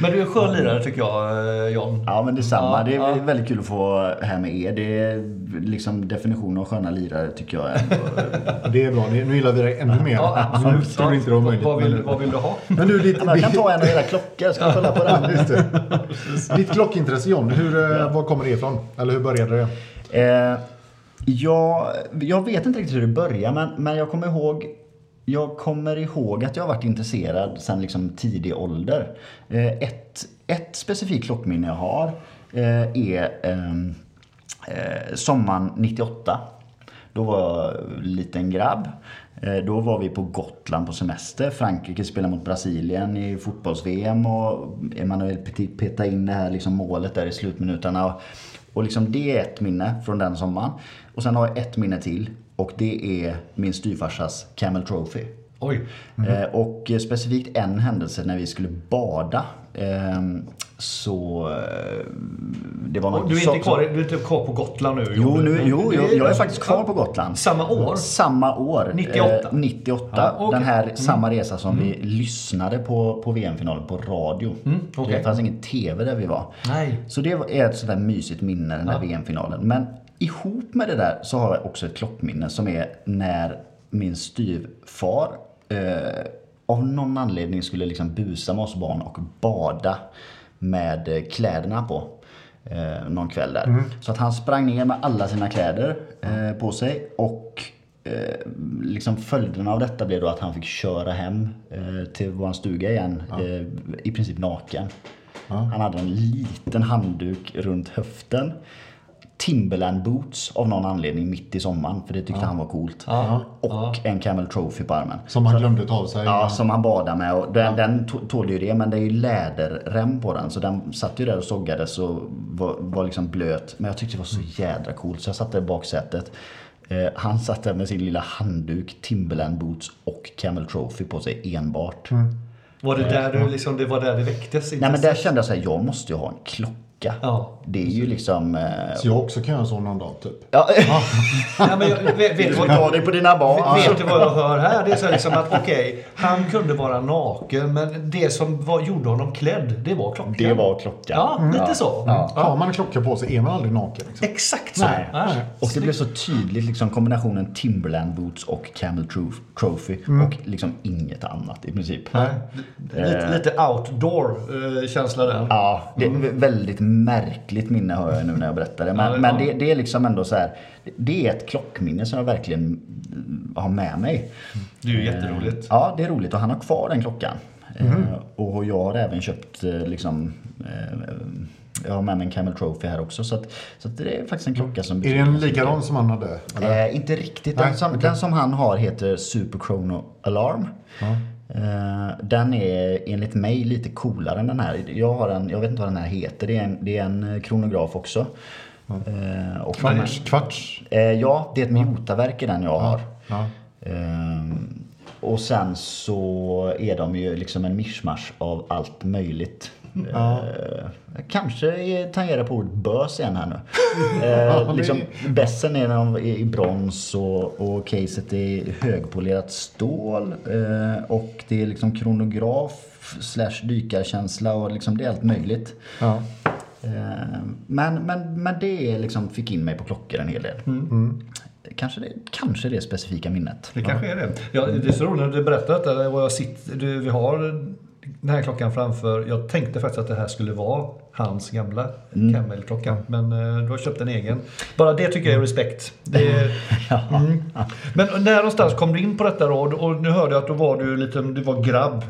A: Men du är en skön lirare tycker jag, eh, John.
C: Ja men detsamma.
A: Ja,
C: det är
A: ja.
C: väldigt kul att få vara här med er. Det är liksom definitionen av sköna lirare
A: (laughs)
C: tycker jag. är.
B: Det är bra. Det- Nu gillar vi dig ännu mer. Nu tror inte det var möjligt.
A: Vad
B: men
A: vill,
B: nu-
A: vad vill du ha?
B: Men du, ditt,
C: Jag kan ta en av era klockor. Ska vi kolla på
B: (laughs)
C: den?
B: Just det. Ditt klockintresse John, hur, eh, var kommer det ifrån? Eller hur började det?
C: Eh, jag, jag vet inte riktigt hur det började men, men jag kommer ihåg jag kommer ihåg att jag har varit intresserad sedan liksom tidig ålder. Eh, ett, ett specifikt klockminne jag har eh, är ehm, eh, sommaren 98. Då var jag liten grabb. Eh, Då var vi på Gotland på semester. Frankrike spelade mot Brasilien i fotbolls-VM och Emmanuel Petit petade in det här liksom målet där i slutminuterna. Och- Och liksom det är ett minne från den sommaren. Och sen har jag ett minne till och det är min styvfarsas Camel Trophy.
A: Oj.
C: Eh, Och eh, specifikt en händelse när vi skulle bada. eh, Så eh, det var någon
A: Du är, inte
C: så-
A: kvar, du är inte kvar på Gotland nu?
C: Jo, nu, jo
A: Det
C: jag, jag är faktiskt kvar på Gotland.
A: Samma år?
C: Samma år.
A: 98.
C: Eh, 98.
A: Ja, okej. Mm.
C: Den här samma resa som vi lyssnade på, på VM-finalen på radio.
A: Mm, okej.
C: Det fanns ingen TV där vi var.
A: Nej.
C: Så det är ett sånt där mysigt minne, den här VM-finalen. Men ihop med det där så har jag också ett klockminne som är när min styvfar eh, av någon anledning skulle liksom busa med oss barn och bada med eh, kläderna på. Eh, någon kväll där. Så att han sprang ner med alla sina kläder eh, på sig och eh, liksom följderna av detta blev då att han fick köra hem eh, till vår stuga igen, eh, i princip naken. Han hade en liten handduk runt höften. Timberland boots av någon anledning mitt i sommaren, för det tyckte han var coolt. Och en Camel Trophy på armen.
B: Som han glömde ta av sig.
C: Ja, som han badade med. Och den, den to- tålde ju det, men det är ju läderrem på den. Så den satt ju där och såggades och var, var liksom blöt. Men jag tyckte det var så jädra coolt, så jag satt där i baksätet. Eh, han satt där med sin lilla handduk, Timberland boots och Camel Trophy på sig enbart.
A: Mm. Var det där du, liksom, det var där det väcktes?
C: Nej men
A: intresset?
C: där kände jag så här, jag måste ju ha en klocka.
A: Ja.
C: Det är ju liksom... Eh,
B: Så jag också kan göra så någon dag typ.
C: ja, (laughs)
A: Nej, men jag, vet,
C: du
A: vet,
C: får
A: vad,
C: ta dig på dina barn.
A: vet du vad jag hör här? Det är så här liksom att okej, han kunde vara naken men det som var, gjorde honom klädd, det var klockan.
C: Det var klockan.
A: Ja, lite så.
B: Har man en klocka på sig är man aldrig naken. Liksom.
A: Exakt så.
B: Nej.
A: Ja.
C: Och det blev så tydligt liksom kombinationen Timberland boots och Camel Tro- Trophy och liksom inget annat i princip.
A: Lite, lite outdoor-känsla där.
C: Eh. Ja, det är ett väldigt märkligt minne har jag nu när jag berättar det. Men,
A: Ja,
C: men
A: ja.
C: det, det är liksom ändå så här. Det är ett klockminne som jag verkligen mm, har med mig.
A: Det är ju jätteroligt.
C: Ja, det är roligt och han har kvar den klockan. Eh, och jag har även köpt eh, liksom eh, jag har med mig en Camel Trophy här också så, att, så att det är faktiskt en klocka som
B: Är det en likadan som han hade? Eller?
C: Eh, inte riktigt. Den,
B: Nej,
C: som, den som han har heter Super Chrono Alarm. Eh, den är enligt mig lite coolare än den här. Jag, har en, jag vet inte vad den här heter. Det är en, det är en eh, kronograf också. Eh, och
B: Kvarts? Kvarts?
C: Eh, ja, det är ett miotaverk i den jag har.
B: Ja.
C: Ehm, och sen så är de ju liksom en mischmasch av allt möjligt. Eh, kanske är- tangerar på ordet bös igen här nu. Eh, liksom, bässen är någon- i i brons och, och caset är högpolerat stål. Eh, och det är liksom kronograf slash dykarkänsla och liksom det är allt möjligt.
B: Ja.
C: Eh, Men, men, men det liksom fick in mig på klockor en hel del. Kanske, det, kanske det specifika minnet.
A: Det kanske är det. Ja, det är så roligt när du berättar detta. där Jag sitter, du, vi har den här klockan framför. Jag tänkte faktiskt att det här skulle vara hans gamla Camel-klocka. Men eh, du har köpt en egen. Bara det tycker jag är respekt. Det är, mm. Men när någonstans kom du in på detta då? Och nu hörde jag att då var du, lite, du var grabb.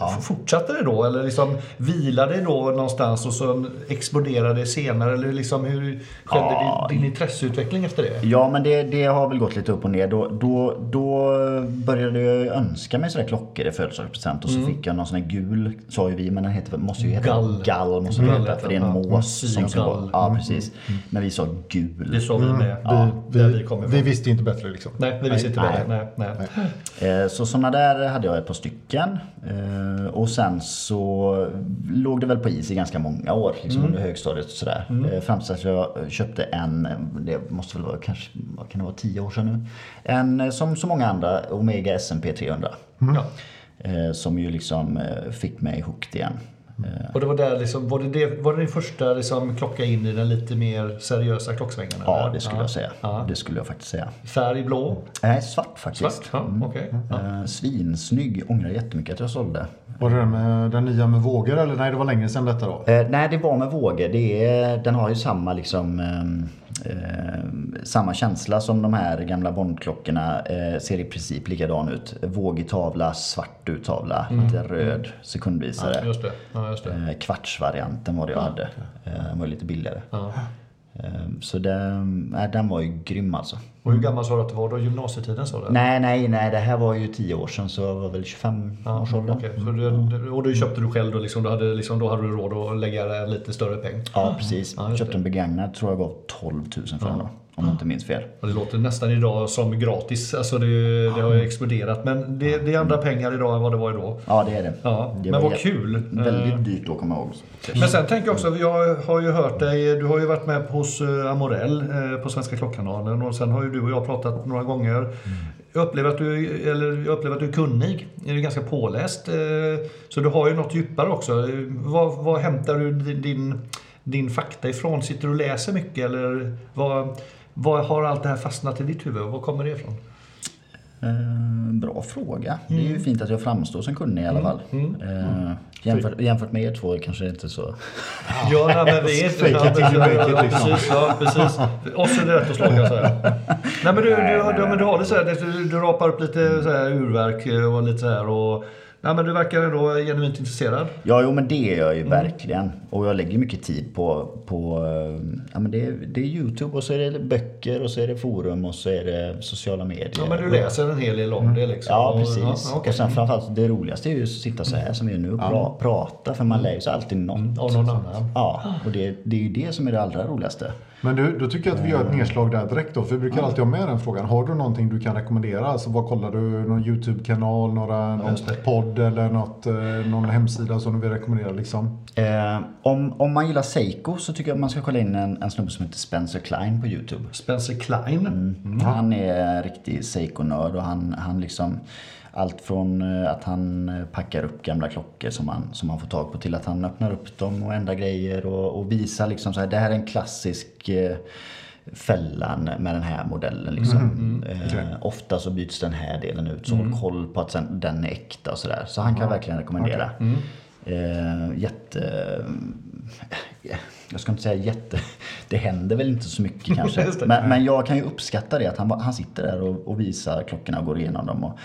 A: F- Fortsatte det då? Eller liksom vilade det då någonstans och så exploderade det senare? Eller liksom hur skedde
C: Ja.
A: din, din intresseutveckling efter det?
C: Ja, men det, det har väl gått lite upp och ner. Då, då, då började jag önska mig sådär klockor i födelsedagspresent och så fick jag någon sån här gul, sa ju vi, men den heter, måste ju heta
A: Mm. Gall.
C: gall måste den
A: Gall
C: heta,
A: heter
C: för det är en
A: den, ja.
C: mås. Som ska,
A: Sygall. Mm.
C: ja, precis. Men vi sa
A: Det
C: gul.
A: sa vi med.
B: vi,
A: där
B: vi,
A: kommer ifrån.
B: vi visste inte bättre liksom.
A: Nej, det visste inte
C: Nej.
A: det. Nej, nej.
C: Eh, Så sådana där hade jag ett par stycken. Eh, Och sen så låg det väl på is i ganska många år liksom under högstadiet och sådär. Mm. Fram tills att jag köpte en, eh, det måste väl vara kanske, vad kan det vara, tio år sedan nu? En eh, som så många andra, Omega S&P 300.
A: Ja.
C: Eh, Som ju liksom eh, fick mig hooked igen. Eh,
A: Och det var, där liksom, var, det det, var det din första liksom klocka in i den lite mer seriösa klocksvängen?
C: Ja,
A: eller?
C: det skulle
A: Ja.
C: jag säga. Mm,
A: Ja.
C: Det skulle jag faktiskt säga.
A: Färg blå?
C: Nej, svart faktiskt.
A: Svart? Ja, okej. Ja.
C: Eh, Svinsnygg. Ångrar jättemycket att jag sålde.
B: Var det den, med, den nya med vågor eller? Nej, det var länge sedan detta då.
C: Eh, nej, det var med vågor. Det är, den har ju samma, liksom, ehm, ehm, samma känsla som de här gamla Bondklockorna. Eh, ser i princip likadan ut. Vågig tavla, svart uttavla, lite röd sekundvisare.
A: Just det. Mm. Ja, just det.
C: eh, kvartsvarianten var det jag hade. Eh, den var ju lite billigare.
A: Ja.
C: Eh, så den, nej, den var ju grym alltså.
A: Och hur gammal sa du att du var då? Gymnasietiden sa du?
C: Nej, nej, nej. Det här var ju 10 år sedan så jag var väl 25
A: Ja,
C: års ålder.
A: okej. Så
C: Mm.
A: du, och du köpte du själv då, liksom, då, hade, liksom, då hade du råd att lägga en lite större peng?
C: Ja, precis.
A: Ja, just
C: Köpte en begagnad, tror jag gav 12 000 för den då. Om jag inte minns fel.
A: Och det låter nästan idag som gratis. Alltså det, det har ju exploderat. Men det, det är andra pengar idag än vad det var då.
C: Ja, det är det.
A: Ja,
C: Mm. det
A: men
C: var
A: vad
C: jä-
A: kul. Eh.
C: Väldigt dyrt då, kommer jag ihåg.
A: Men sen tänker jag också, jag har ju hört dig, du har ju varit med hos eh, Amorell eh, på Svenska Klockkanalen och sen har ju du och jag pratat några gånger. Jag upplever att du, eller jag upplever att du är kunnig, du är ganska påläst. eh, Så du har ju något djupare också. Eh, Vad, vad hämtar du di- din, din fakta ifrån? Sitter du och läser mycket eller vad, vad har allt det här fastnat i ditt huvud? Var kommer det ifrån?
C: Eh, bra fråga. Det
A: Mm.
C: är ju fint att jag framstår som kunnig i alla fall. Eh, jämfört, jämfört med er två kanske det inte är så...
A: Ja, nej, men vi är
B: Fake it till you make it, liksom.
A: Precis, ja, precis. Oss är det rätt att slå kan jag säga. Nej, men du, du, har- men du har det så här, du, du rapar upp lite så här urverk eh, och lite så här och... Nej, men du verkar ändå genuint intresserad.
C: Ja, jo, men det är jag ju
A: Mm.
C: verkligen. Och jag lägger mycket tid på... på eh, ja, men det, är, det är Youtube och så är det böcker och så är det forum och så är det sociala medier.
A: Ja, men du läser en hel del om det liksom.
C: Mm. Ja,
A: Och-
C: precis.
A: ja, okej.
C: Och sen framförallt det roligaste är ju att sitta så här som vi gör nu och pra, prata för man lär ju sig alltid något.
A: Av någon annan.
C: Ja, och det, det är ju det som är det allra roligaste.
B: Men du, då tycker jag att vi gör ett nedslag där direkt då. För vi brukar alltid ha med den frågan. Har du någonting du kan rekommendera? Alltså vad kollar du? Någon YouTube-kanal? Några, någon
A: just det.
B: podd eller något, eh, någon hemsida som du vill rekommendera liksom?
C: Eh, om, om man gillar Seiko så tycker jag att man ska kolla in en, en snubbe som heter Spencer Klein på Youtube.
A: Spencer Klein.
C: Mm. Han är en riktig Seiko-nörd och han, han liksom allt från eh, att han eh, packar upp gamla klockor som han, som han får tag på till att han öppnar upp dem och ändrar grejer och, och visar liksom så här, det här är en klassisk eh, fällan med den här modellen. Liksom. Eh, Ofta så byts den här delen ut så håll koll på att sen, den är äkta och sådär. Så han kan verkligen rekommendera. Eh, jätte... eh, Jag ska inte säga jätte... (laughs) Det händer väl inte så mycket kanske.
A: Just det.
C: men, men jag kan ju uppskatta det att han, bara- han sitter där och, och visar klockorna och går igenom dem. Och,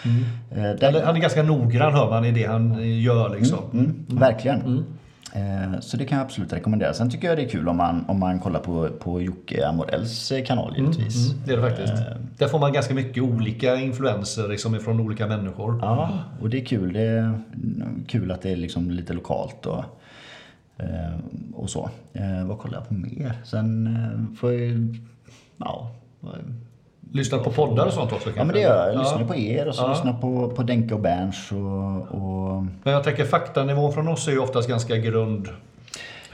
C: eh, där,
A: Han är- Han är ganska noggrann hör man i det han gör liksom.
C: Mm, verkligen. Eh, Så det kan jag absolut rekommendera. Sen tycker jag det är kul om man, om man kollar på, på Jocke Amorells eh, kanal
A: Mm,
C: givetvis.
A: Det är det faktiskt.
C: Eh.
A: Där får man ganska mycket olika influenser liksom ifrån olika människor.
C: Ja, och det är kul. Det är kul att det är liksom lite lokalt och, eh, och så. Eh, Vad kollar jag på mer? Sen eh, får jag ju- ja,
A: Lyssnar på poddar och sånt också kanske?
C: ja, men det gör jag. Jag
A: Ja.
C: lyssnar på er och så lyssnar jag på, på Denke och Berns och, och
A: Men jag tänker faktanivån från oss är ju oftast ganska grund.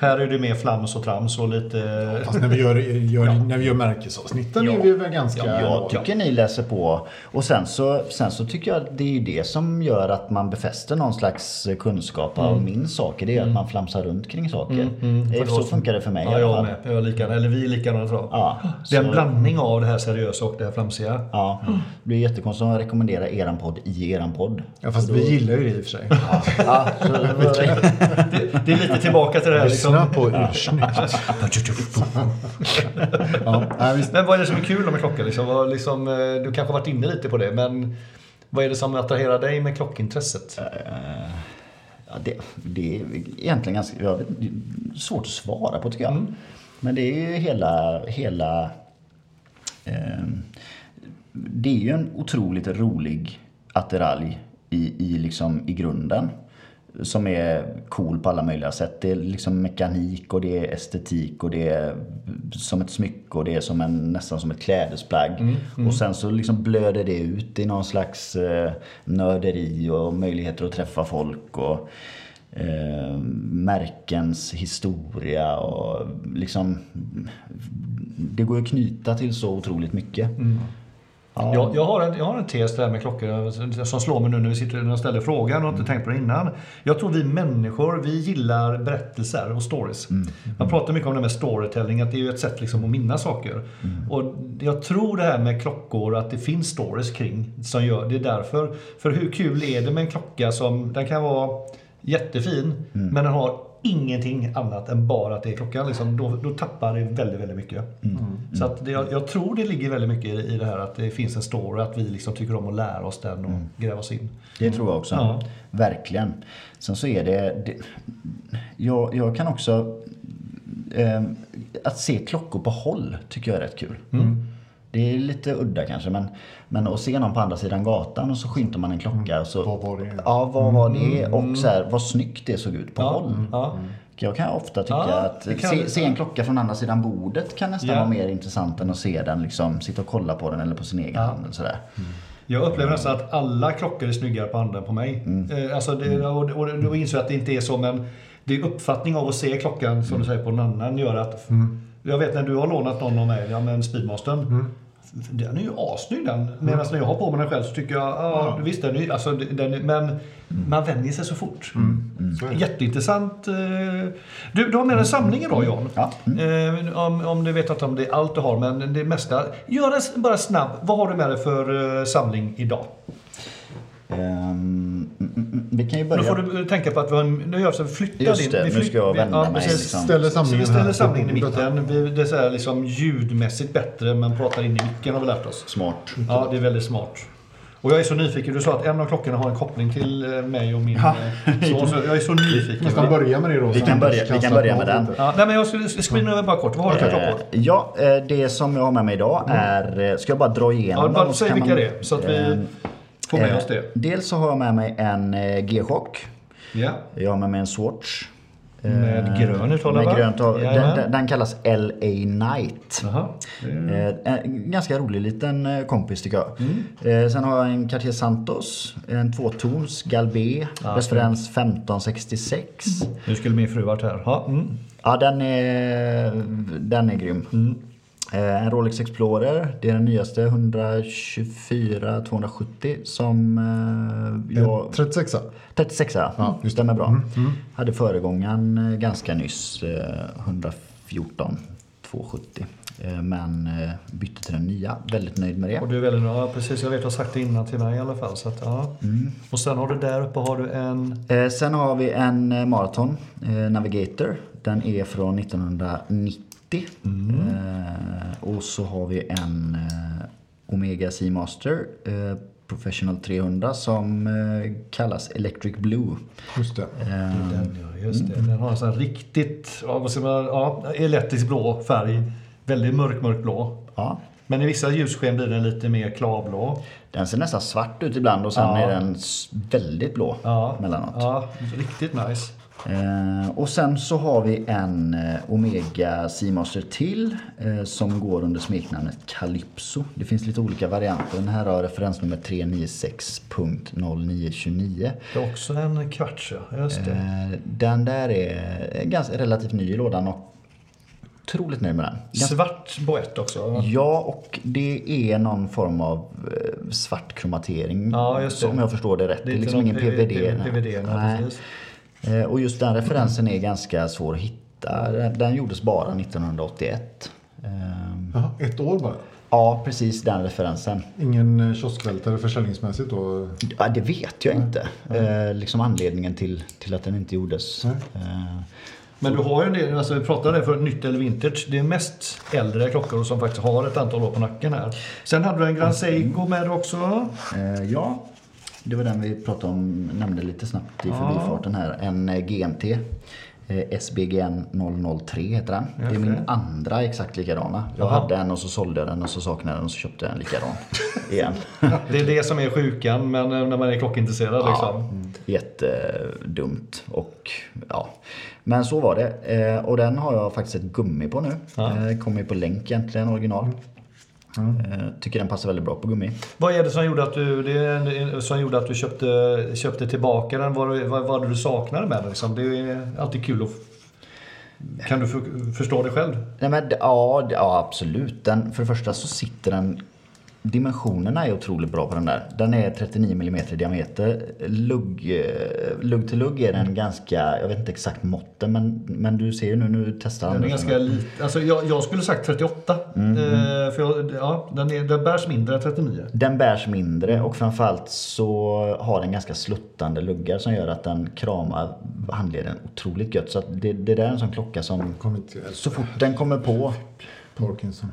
A: Här är det mer flams och trams och lite...
B: Fast när vi gör, gör, när vi gör märkesavsnitten
A: Ja.
B: är vi väl ganska...
A: Ja,
C: Jag tycker ni läser på. Och sen så, sen så tycker jag att det är ju det som gör att man befäster någon slags kunskap av
A: Mm.
C: min saker. Det är ju att man flamsar runt kring saker. Eh, Så funkar det för mig
A: Ja,
C: i alla
A: jag
C: fall.
A: med. Jag är likadan. Eller vi är likadana tror jag.
C: Ja,
A: det är en
C: så-
A: blandning av det här seriösa och det här flamsiga.
C: Ja, det blir jättekonstigt om jag rekommenderar eran podd i eran podd.
B: Ja, fast vi gillar ju det i och för sig. (laughs)
C: Ja, så (laughs) det var-
A: Det, det är lite tillbaka till det här liksom.
B: Lyssna på ursnyggt. (laughs) ja, nej, visst.
A: Men vad är det som är kul med klockan? Liksom? Vad, liksom, eh, du kanske har varit inne lite på det, men vad är det som attraherar dig med klockintresset?
C: Ja, det, det är egentligen ganska jag vet, det är svårt att svara på tycker jag. Men det är ju hela... hela ehm, det är ju en otroligt rolig attiralj i, i, liksom, i grunden. Som är cool på alla möjliga sätt. Det är liksom mekanik och det är estetik och det är som ett smycke och det är som en, nästan som ett klädesplagg. Och sen så liksom blöder det ut i någon slags eh, nörderi och möjligheter att träffa folk. Och, eh, märkens historia och liksom... Det går ju att knyta till så otroligt mycket.
A: Jag, jag, har en, jag har en tes där med klockor som slår mig nu när vi sitter när jag ställer frågan och inte tänkt på det innan. Jag tror vi människor, vi gillar berättelser och stories. Man pratar mycket om det med storytelling, att det är ju ett sätt liksom att minnas saker. Och jag tror det här med klockor, att det finns stories kring som gör det är därför. För hur kul är det med en klocka som, den kan vara jättefin, men den har ingenting annat än bara att det är klockan. Liksom, då, då tappar det väldigt, väldigt mycket. Mm. Så att det, jag, jag tror det ligger väldigt mycket i, i det här att det finns en story, att vi liksom tycker om att lära oss den och gräva oss in.
C: Det tror jag också.
A: Ja.
C: Verkligen. Sen så är det... det jag, jag kan också... Eh, att se klockor på håll tycker jag är rätt kul.
A: Mm.
C: Det är lite udda kanske men, men att se någon på andra sidan gatan och så skymtar man en
A: Mm.
C: klocka. Och så,
B: Vad var det?
C: Ja, vad var det? Och så här, vad snyggt det såg ut på
A: Ja,
C: håll.
A: ja.
C: Jag kan ofta tycka
A: Ja,
C: att
A: det kan-
C: se, se en klocka från andra sidan bordet kan nästan
A: Ja.
C: vara mer intressant än att se den liksom sitta och kolla på den eller på sin egen hand eller sådär.
A: Jag upplever nästan att alla klockor är snyggare på andra än på mig. Eh, Alltså det, och, och, och då inser jag att det inte är så, men det är uppfattning av att se klockan som du säger på någon annan gör att... Jag vet när du har lånat någon av mig, ja men Speedmastern. Den är ju assnygg den. Medan när jag har på mig den själv så tycker jag, ja visst den är ju- alltså, den är, men man vänjer sig så fort.
B: Så är det.
A: Jätteintressant. eh. Du, du har med en samling idag John.
C: Ja.
A: Eh, Om, om du vet att om det är allt du har, men det mesta. Gör en s- bara snabb. Vad har du med dig för eh, samling idag?
C: Ehm, mm, mm, mm. Vi kan ju
A: Då
C: börja...
A: får du eh, tänka på att vi har en, nu gör vi så att vi flyttar
C: Just
A: din-
C: det,
A: vi
C: nu ska jag
A: vi-
C: vända mig
A: precis.
C: liksom.
A: Så
B: Ställer
A: vi
B: samlingen här
A: ställer
B: på
A: samlingen i
B: bordet.
A: mitten. Vi, det är så här liksom ljudmässigt bättre, men pratar in i micken har vi lärt oss.
C: Smart.
A: Ja, det är väldigt smart. Och jag är så nyfiken. Du sa att en av klockorna har en koppling till eh, mig och min eh, son. Så jag är så nyfiken.
B: Nästan börja med det då. så
C: kan
B: han
C: börja-
B: kanske
C: vi
B: kan
C: kan börja
B: slappna
C: med
B: av
C: den.
B: lite.
A: Ja, nej, men jag skulle screena över bara kort. Vad har du för
C: Eh,
A: klockor?
C: Ja, eh, det som jag har med mig idag är... eh, Ska jag bara dra igenom
A: Ja,
C: dem
A: bara
C: och så
A: säg
C: kan
A: vilka
C: man-
A: det är så att
C: Ehm,
A: vi får med
C: eh,
A: oss det.
C: Dels så har jag med mig en eh, G-chock.
A: Ja.
C: Jag har med mig en Swatch. Eh,
A: Eh, Med grön uttalare
C: Med grönt av, den,
A: Jajamän. Mm.
C: den, den kallas LA Night.
A: Jaha.
C: Eh, En ganska rolig liten eh, kompis tycker jag.
A: Mm.
C: Eh, Sen har jag en Cartier Santos, en tvåtons Galbé, referens 1566.
A: Nu skulle min fru varit här. Ja, mm.
C: Ja, den är, den är grym. Eh, En Rolex Explorer, det är den nyaste 124-270 som eh, jag...
B: 36
C: 36 ja, det Mm, stämmer bra. Hade föregångaren eh, ganska nyss, eh, 114 270. Eh, Men eh, bytte till den nya, väldigt nöjd med det.
A: Och du är väldigt ja, precis. Jag vet, du har sagt det innan till mig i alla fall. Så att, ja. Och sen har du där uppe har du en...
C: Eh, Sen har vi en eh, Marathon eh, Navigator. Den är från 1990. Eh, Och så har vi en eh, Omega Seamaster eh, Professional 300 som eh, kallas Electric Blue.
B: Just det.
C: Eh,
A: Den, ja, Mm. just det. Den har en sån här riktigt, ja, vad ska man, ja, elektrisk blå färg. Väldigt mörk, mörk blå.
C: Ja,
A: Men i vissa ljussken blir den lite mer klarblå.
C: Den ser nästan svart ut ibland och sen
A: Ja.
C: är den s- väldigt blå
A: Ja.
C: mellanåt.
A: Ja, riktigt nice.
C: Eh, och sen så har vi en eh, Omega Seamaster till eh, som går under smeknamnet Calypso. Det finns lite olika varianter. Den här har referensnummer 396.0929.
A: Det är också en kvarts, ja. Just det.
C: Eh, den där är eh, ganska relativt ny i lådan och otroligt nöjd med den. Ganska
A: Svart boett också. va?
C: Ja, och det är någon form av eh, svart kromatering.
A: Ja, just det.
C: Om jag förstår det rätt.
A: Det
C: Det
A: är
C: är,
A: inte
C: liksom
A: någon
C: ingen
A: P-
C: PVD.
A: P- PVD, nej, precis.
C: Eh, Och just den referensen är ganska svår att hitta. Den- Den gjordes bara 1981. Ehm,
B: Jaha, ett år bara.
C: Ja, precis den referensen.
B: Ingen eh, kioskvältare försäljningsmässigt då?
C: Ja, det vet jag inte. Eh, Liksom anledningen till, till att den inte gjordes. Eh,
A: Men du har ju en del, alltså vi pratade om det för nytt eller vintage. Det är mest äldre klockor som faktiskt har ett antal år på nacken här. Sen hade du en Grand Seiko med dig också.
C: Eh, ja, det var den vi pratade om, nämnde lite snabbt i förbifarten här. En eh, GMT. eh, SBGN 003 heter den. Det är
A: Just
C: min
A: det.
C: andra exakt likadana. Jag
A: Jaha.
C: hade en och så sålde jag den och så saknade jag den och så köpte jag en likadan. Igen.
A: Det är det som är sjukan, men eh, när man är klockintresserad liksom.
C: Jättedumt. Och, ja. Men så var det. Eh, Och den har jag faktiskt ett gummi på nu. Eh, Kommer ju på länk egentligen, original. Eh, Tycker den passar väldigt bra på gummi.
A: Vad är det som gjorde att du, det är en- som gjorde att du köpte, köpte tillbaka den? Vad var, vad var det du saknade med den? Liksom? Det är alltid kul att... f- Kan du för, förstå det själv?
C: Nej, men, d- ja, d- ja, absolut. Den, för det första så sitter den... Dimensionerna är otroligt bra på den där. Den är 39 mm i diameter. Lugg, eh, lugg till lugg är den ganska... Jag vet inte exakt måtten, men, men du ser ju nu, nu testar
A: Den är
C: Anders
A: ganska liten. Alltså, jag, jag skulle sagt 38. Eh, för jag, ja, den, är, den bärs mindre än 39.
C: Den bärs mindre och framförallt så har den ganska sluttande luggar som gör att den kramar handleden otroligt gött. Så att det, det där är en sån klocka som...
B: Kommer inte...
C: Så fort den kommer på...
B: Parkinson.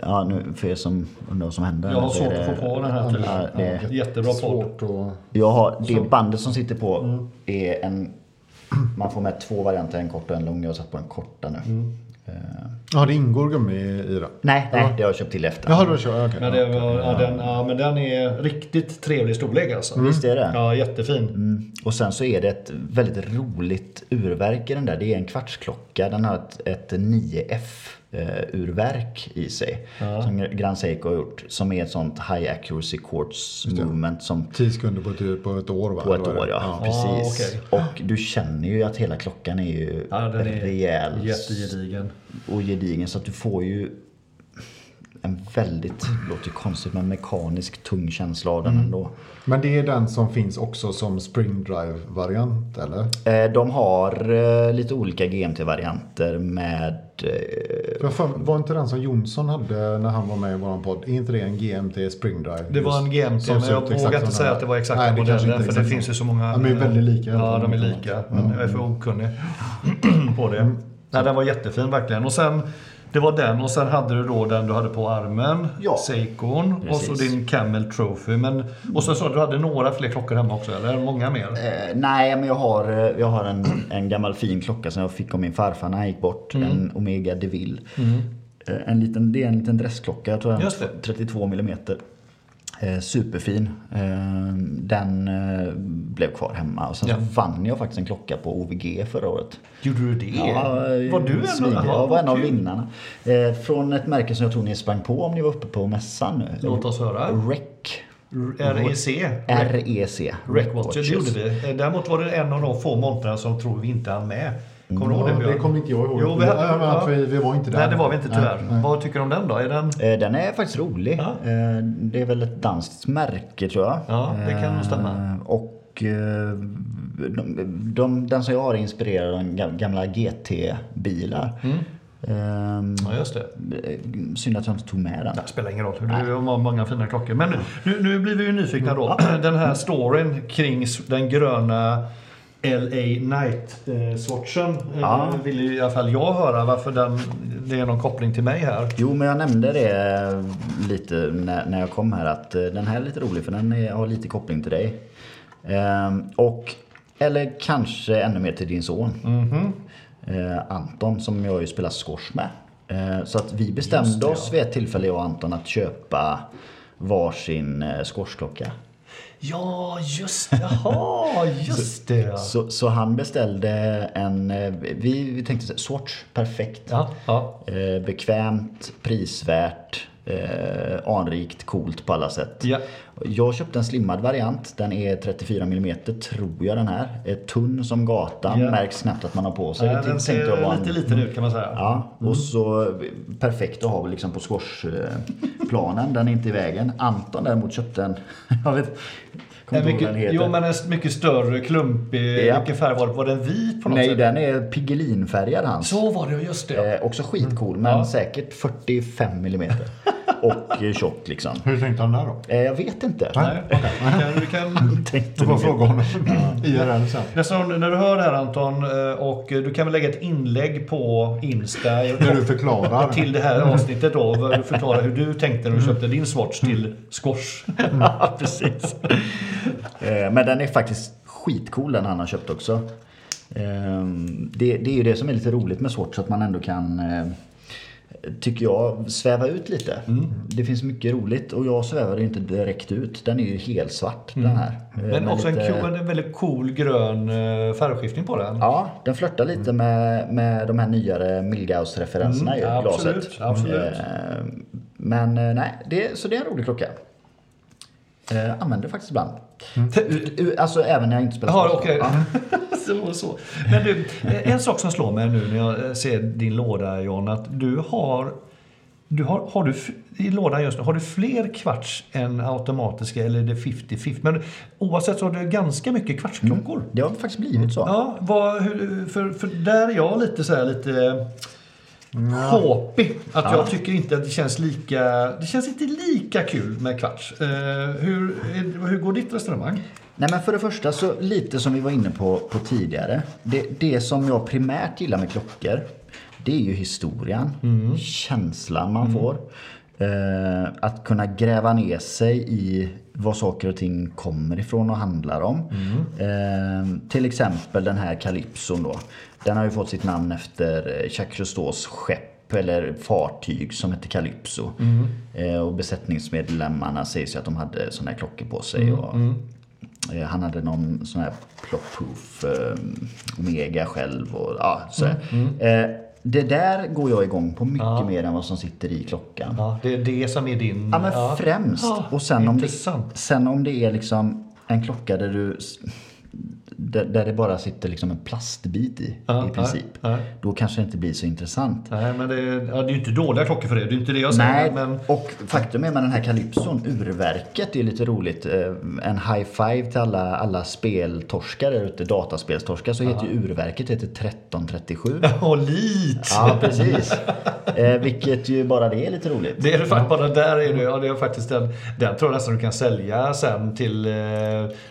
C: Ja, nu för er som undrar vad som händer.
A: Jag har
C: så är
A: svårt att få på den här till.
C: Ja, det,
A: Jättebra podd.
B: Svårt att...
C: Jag har, det bandet som sitter på är en... Man får med två varianter, en kort och en lång. Jag har satt på den korta nu. Eh,
B: Ja, det ingår gummi i den.
C: Nej, nej,
B: Ja.
C: det har jag köpt till efter.
B: Jaha, då kör jag. okej.
A: Men, det var, ja, den, ja, men den är riktigt trevlig storlek alltså.
B: Mm.
C: Visst är det?
A: Ja, jättefin.
C: Mm. Och sen så är det ett väldigt roligt urverk i den där. Det är en kvartsklocka. Den har ett, ett 9F-urverk i sig. Som Grand Seiko har gjort. Som är ett sånt high accuracy quartz movement som
B: 10 sekunder på ett, på ett år va?
C: på ett
B: Eller vad är
C: år,
B: det?
C: ja.
A: Ja,
C: Precis. Och du känner ju att hela klockan är ju
A: Ja, den är
C: rejäl
A: jättegedigen.
C: och gedigen. Så att du får ju en väldigt, låter ju konstigt, men mekanisk tung känsla av den
A: Mm.
C: ändå.
B: Men det är den som finns också som Spring Drive-variant, eller?
C: Eh, De har eh, lite olika GMT-varianter med... eh,
B: Jag för, var inte den som Jonsson hade när han var med i våran podd? Är inte det en GMT Spring Drive?
A: Det var en GMT,
B: Som
A: men
B: ser ut
A: jag
B: exakt
A: vågar
B: som
A: inte
B: den
A: säga
B: här.
A: att det var exakta
B: Nej, det kanske
A: modellen,
B: inte är
A: för
B: exakt
A: det finns ju
B: samma.
A: så många.
B: De är väldigt lika i alla
A: Ja,
B: fall.
A: de är lika. Men jag är
B: Mm.
A: för
B: (clears throat)
A: okunnig på det. Nej, den var jättefin verkligen. Och sen, det var den och sen hade du då den du hade på armen,
C: Ja.
A: Seikon och så
C: Precis.
A: din Camel Trophy. Men, och så sa du att du hade några fler klockor hemma också, eller? Många mer?
C: Eh, nej, men jag har, eh, jag har en, en gammal fin klocka som jag fick av min farfar när han gick bort.
A: Mm.
C: En Omega DeVille. Eh, en liten, det är en liten dressklocka, jag tror den
A: Just det.
C: 32 mm. Eh, superfin. Eh, den eh, blev kvar hemma. Och sen
A: Ja.
C: så vann jag faktiskt en klocka på OVG förra året.
A: Gjorde du det? var du en,
C: smidig. Jag var en av
A: kul.
C: vinnarna. Eh, från ett märke som jag tror ni sprang på om ni var uppe på mässan nu.
A: Låt oss höra. E
C: REC. E
A: REC.
C: Mm. REC.
A: Rec Watches gjorde vi. Eh, Däremot var det en av de få montrarna som tror vi inte hann med. Kommer du ihåg det
B: Ja,
A: Björn?
B: det kommer inte jag ihåg.
A: Jo, vi, hade,
B: Ja, men
A: ja.
B: att vi- vi var inte där.
A: Nej, det var vi inte
B: Nej,
A: tyvärr.
B: nej.
A: Vad tycker du om den då? Är den...
C: Eh, Den är faktiskt rolig.
A: Ja.
C: Eh, Det är väl ett danskt märke tror jag.
A: Ja, det kan nog stämma.
C: Eh, Och eh, de, de, den som jag har är inspirerad av de gam- gamla GT-bilar.
A: Mm.
C: Ehm,
A: Ja, just det.
C: eh, Synd att jag inte tog med den.
A: Det spelar ingen roll. Det var många fina klockor. Men nu, nu, nu blir vi ju nyfikna då. Den här storyn kring s- den gröna LA Night-swatchen
C: Ja.
A: eh, vill ju i alla fall jag höra varför den, det är någon koppling till mig här.
C: Jo, men jag nämnde det eh, lite när, när jag kom här att eh, den här är lite rolig för den är, har lite koppling till dig. Ehm, och, eller kanske ännu mer till din son.
A: Mhm.
C: Eh, Anton som jag ju spelar squash med. Eh, så att vi bestämde oss vid ett tillfälle, jag och Anton, att köpa varsin eh, squashklocka.
A: Ja, just det. (laughs) Jaha, just det. ja.
C: Så, så han beställde en, eh, vi, vi tänkte så här, Swatch, perfekt.
A: Ja, ja.
C: Eh, bekvämt, prisvärt, eh, anrikt, coolt på alla sätt.
A: Ja.
C: Jag köpte en slimmad variant. Den är 34 mm tror jag den här. Är tunn som gatan,
A: Ja.
C: märks knappt att man har på sig.
A: Nej,
C: Det
A: den
C: tänkte jag var
A: ser
C: en-
A: lite Mm. liten ut kan man säga.
C: Ja, och så eh, perfekt att ha liksom på squashplanen. Den är inte i vägen. Anton däremot köpte en, (laughs) jag vet kommer
A: En
C: inte ihåg vad
A: mycket,
C: den heter.
A: jo, men en s- mycket större, klumpig.
C: Ja.
A: Vilken färg var det? Var den vit på något
C: Nej,
A: sätt?
C: den är pigelinfärgad hans.
A: Så var det, just det.
C: Eh, också
A: Mm.
C: skitcool, men säkert 45 mm.
A: (laughs)
C: Och eh, tjock liksom.
B: Hur tänkte han där då?
C: Eh, jag vet inte. (laughs)
A: Nej, okej. Vi kan, vi kan...
B: Du får fråga honom (laughs) IRL sen.
A: Nästan, när du hör det här Anton, eh, och eh, du kan väl lägga ett inlägg på Insta
B: När du förklarar.
A: (laughs) till det här avsnittet då. vad Du förklarar hur du tänkte när du
C: Mm.
A: köpte din swatch till Skors.
C: Ja, precis. Eh, men den är faktiskt skitcool den han har köpt också. Eh, det, det är ju det som är lite roligt med Swatch, att man ändå kan eh, Tycker jag, sväva ut lite.
A: Mm.
C: Det finns mycket roligt och jag svävar ju inte direkt ut. Den är ju helsvart den här. Eh,
A: Mm. Men
C: med
A: också en,
C: lite-
A: cool, en väldigt cool grön eh, färgskiftning på den.
C: Ja, den flörtar lite med, med de här nyare Milgauss-referenserna i
A: Mm, absolut,
C: glaset.
A: absolut.
C: Eh, Men eh, nej, det, så det är en rolig klocka. Eh, använder faktiskt ibland. U- u- Alltså även när jag inte spelar
A: Mm. Jaha,
C: sport.
A: okej. (laughs)
C: Ja.
A: Så var det så. Men du, eh, en sak som slår mig nu när jag eh, ser din låda John, att du har, du har, har du f- i lådan just nu, har du fler kvarts än automatiska eller är det 50-50? Men oavsett så har du ganska mycket kvartsklockor.
C: Det har faktiskt blivit så.
A: Ja, vad, hur, för, för där är jag lite så här lite håpig. Att jag tycker inte att det känns lika, det känns inte lika kul med kvarts. Eh, hur, är- hur går ditt resonemang?
C: Nej, men för det första, så lite som vi var inne på, på tidigare. Det, det som jag primärt gillar med klockor, det är ju historien, känslan man får. Eh, att kunna gräva ner sig i vad saker och ting kommer ifrån och handlar om. Eh, till exempel den här Calypson då. Den har ju fått sitt namn efter eh, Jacques Cousteaus skepp skepp eller fartyg som hette Calypso. Eh, och besättningsmedlemmarna sägs ju att de hade sådana här klockor på sig. Och, eh, han hade någon sån här plockproof eh, Omega själv och ja, så.
A: Mm,
C: Eh, det där går jag igång på mycket mer än vad som sitter i klockan.
A: Ja, det är det som är din...
C: Ja, men främst.
A: Ja, Ah,
C: och sen om, det,
A: intressant.
C: sen om det är liksom en klocka där du... s- Där, där det bara sitter liksom en plastbit i,
A: Ja,
C: i princip.
A: ja, ja.
C: Då kanske det inte blir så intressant.
A: Nej, men det, ja, det är ju inte dåliga klockor för det. Det är inte det jag säger.
C: Nej,
A: Men, (laughs)
C: och faktum är med den här Calypson, urverket, är lite roligt. Eh, En high five till alla, alla speltorskar där ute, dataspelstorskar, så heter ju urverket heter 1337.
A: och lit!
C: Ja, precis. Eh, vilket ju bara det är lite roligt.
A: Det är det faktiskt, bara där är det, ja, det är faktiskt den, den tror jag nästan du kan sälja sen till, eh,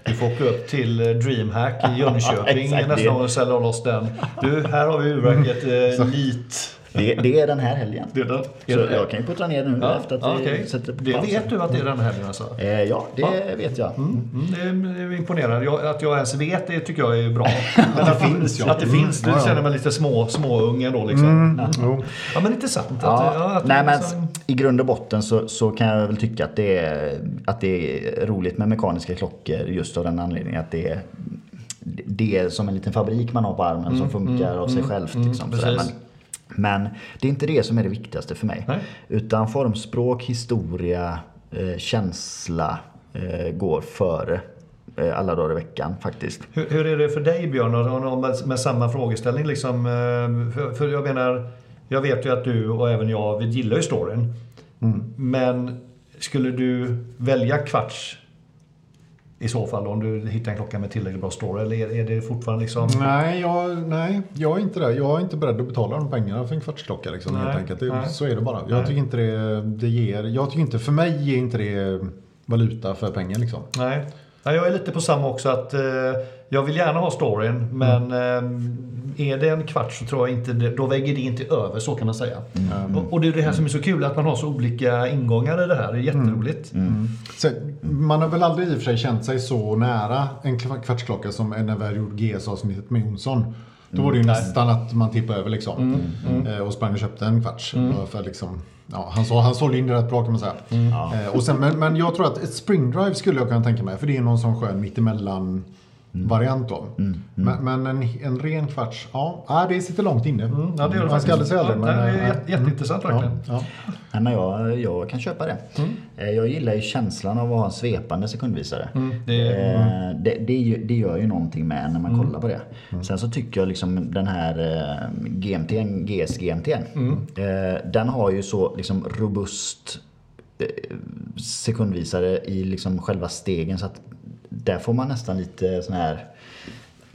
A: du får åka upp till eh,
C: (laughs)
A: DreamHack i Jönköping
C: Exakt, Mm. det.
A: nästa gång och sälja loss den. Du, här har vi urverket eh, Lit.
C: Det, det är den här helgen.
A: Det är den.
C: Så
A: Är det-
C: jag kan ju puttra ner den nu
A: Ja,
C: efter att
A: ja,
C: vi
A: okej.
C: sätter på
A: Det
C: pausen.
A: vet du att det är den här alltså?
C: Eh, ja, det vet jag.
A: Mm, det är- det är imponerande. Jag, att jag ens vet det tycker jag är
C: (laughs)
A: bra. Men att det
B: finns, ja.
A: Att det finns. Du
B: Mm, ja, ja.
A: känner mig lite små, småung ändå liksom.
C: Mm.
B: Mm, Jo.
A: Ja men intressant. Att,
C: Ja,
A: ja, att det
C: nej, men
A: liksom-
C: I grund och botten så, så kan jag väl tycka att det, är, att det är roligt med mekaniska klockor just av den anledningen att det är, det är som en liten fabrik man har på armen som funkar av sig självt. Liksom,
A: mm,
C: sådär. men,
A: precis.
C: men det är inte det som är det viktigaste för mig.
A: Nej.
C: Utan formspråk, historia, eh, känsla eh, går före eh, alla dagar i veckan faktiskt.
A: Hur, hur är det för dig Björn, och, och med, med samma frågeställning? Liksom, eh, för, för jag menar, jag vet ju att du och även jag, vi gillar ju storyn.
C: Mm.
A: Men skulle du välja kvarts i så fall om du hittar en klocka med tillräckligt bra story? Eller är, är det fortfarande liksom...
B: Nej, jag, nej, jag är inte där. Jag är inte beredd att betala de pengarna för en kvartsklocka. Liksom,
A: Nej,
B: helt enkelt. Det,
A: nej.
B: så är det bara. Jag
A: Nej.
B: tycker inte det, det ger... Jag tycker inte, för mig ger inte det valuta för pengar. Liksom.
A: Nej. Nej, jag är lite på samma också att eh, jag vill gärna ha
B: Mm.
A: storyn men eh, är det en kvart så tror jag inte det, då väger det inte över så kan man säga.
B: Mm.
A: Och, och det är det här som är så kul att man har så olika ingångar i det här. Det är
B: Mm.
A: jätteroligt. Mm.
B: Så, man har väl aldrig i och för sig känt sig så nära en kva- kvartsklocka som när vi gjorde GS-avsnittet med Jonsson. Då var det ju nästan att man tippade över liksom. Eh, Och sprang och köpte en kvarts. Bara För att liksom, ja, han, så, han sålde in det rätt bra kan man säga. Eh, och sen, men, men jag tror att ett springdrive skulle jag kunna tänka mig. För det är någon sån skön mittemellan variant då. Men, men en, en ren kvarts, ja, ah, det sitter långt inne.
A: Ja, det gör det
B: man ska
A: faktiskt.
B: aldrig säga aldrig.
A: Ja,
B: men,
A: nej, det
B: eh,
A: är jätte- jätteintressant
B: ja,
A: verkligen.
B: Mm. ja.
C: Nej, men jag, jag kan köpa det.
A: Mm.
C: Eh, Jag gillar ju känslan av att ha en svepande sekundvisare.
A: det
B: Mm.
A: är-
C: Eh, det, det, är ju- det gör ju någonting med en när man
A: Mm.
C: kollar på det. Sen så tycker jag liksom den här eh, GMT'n, GS GMT'n.
A: Mm.
C: Eh, den har ju så liksom robust eh, sekundvisare i liksom själva stegen så att där får man nästan lite sån här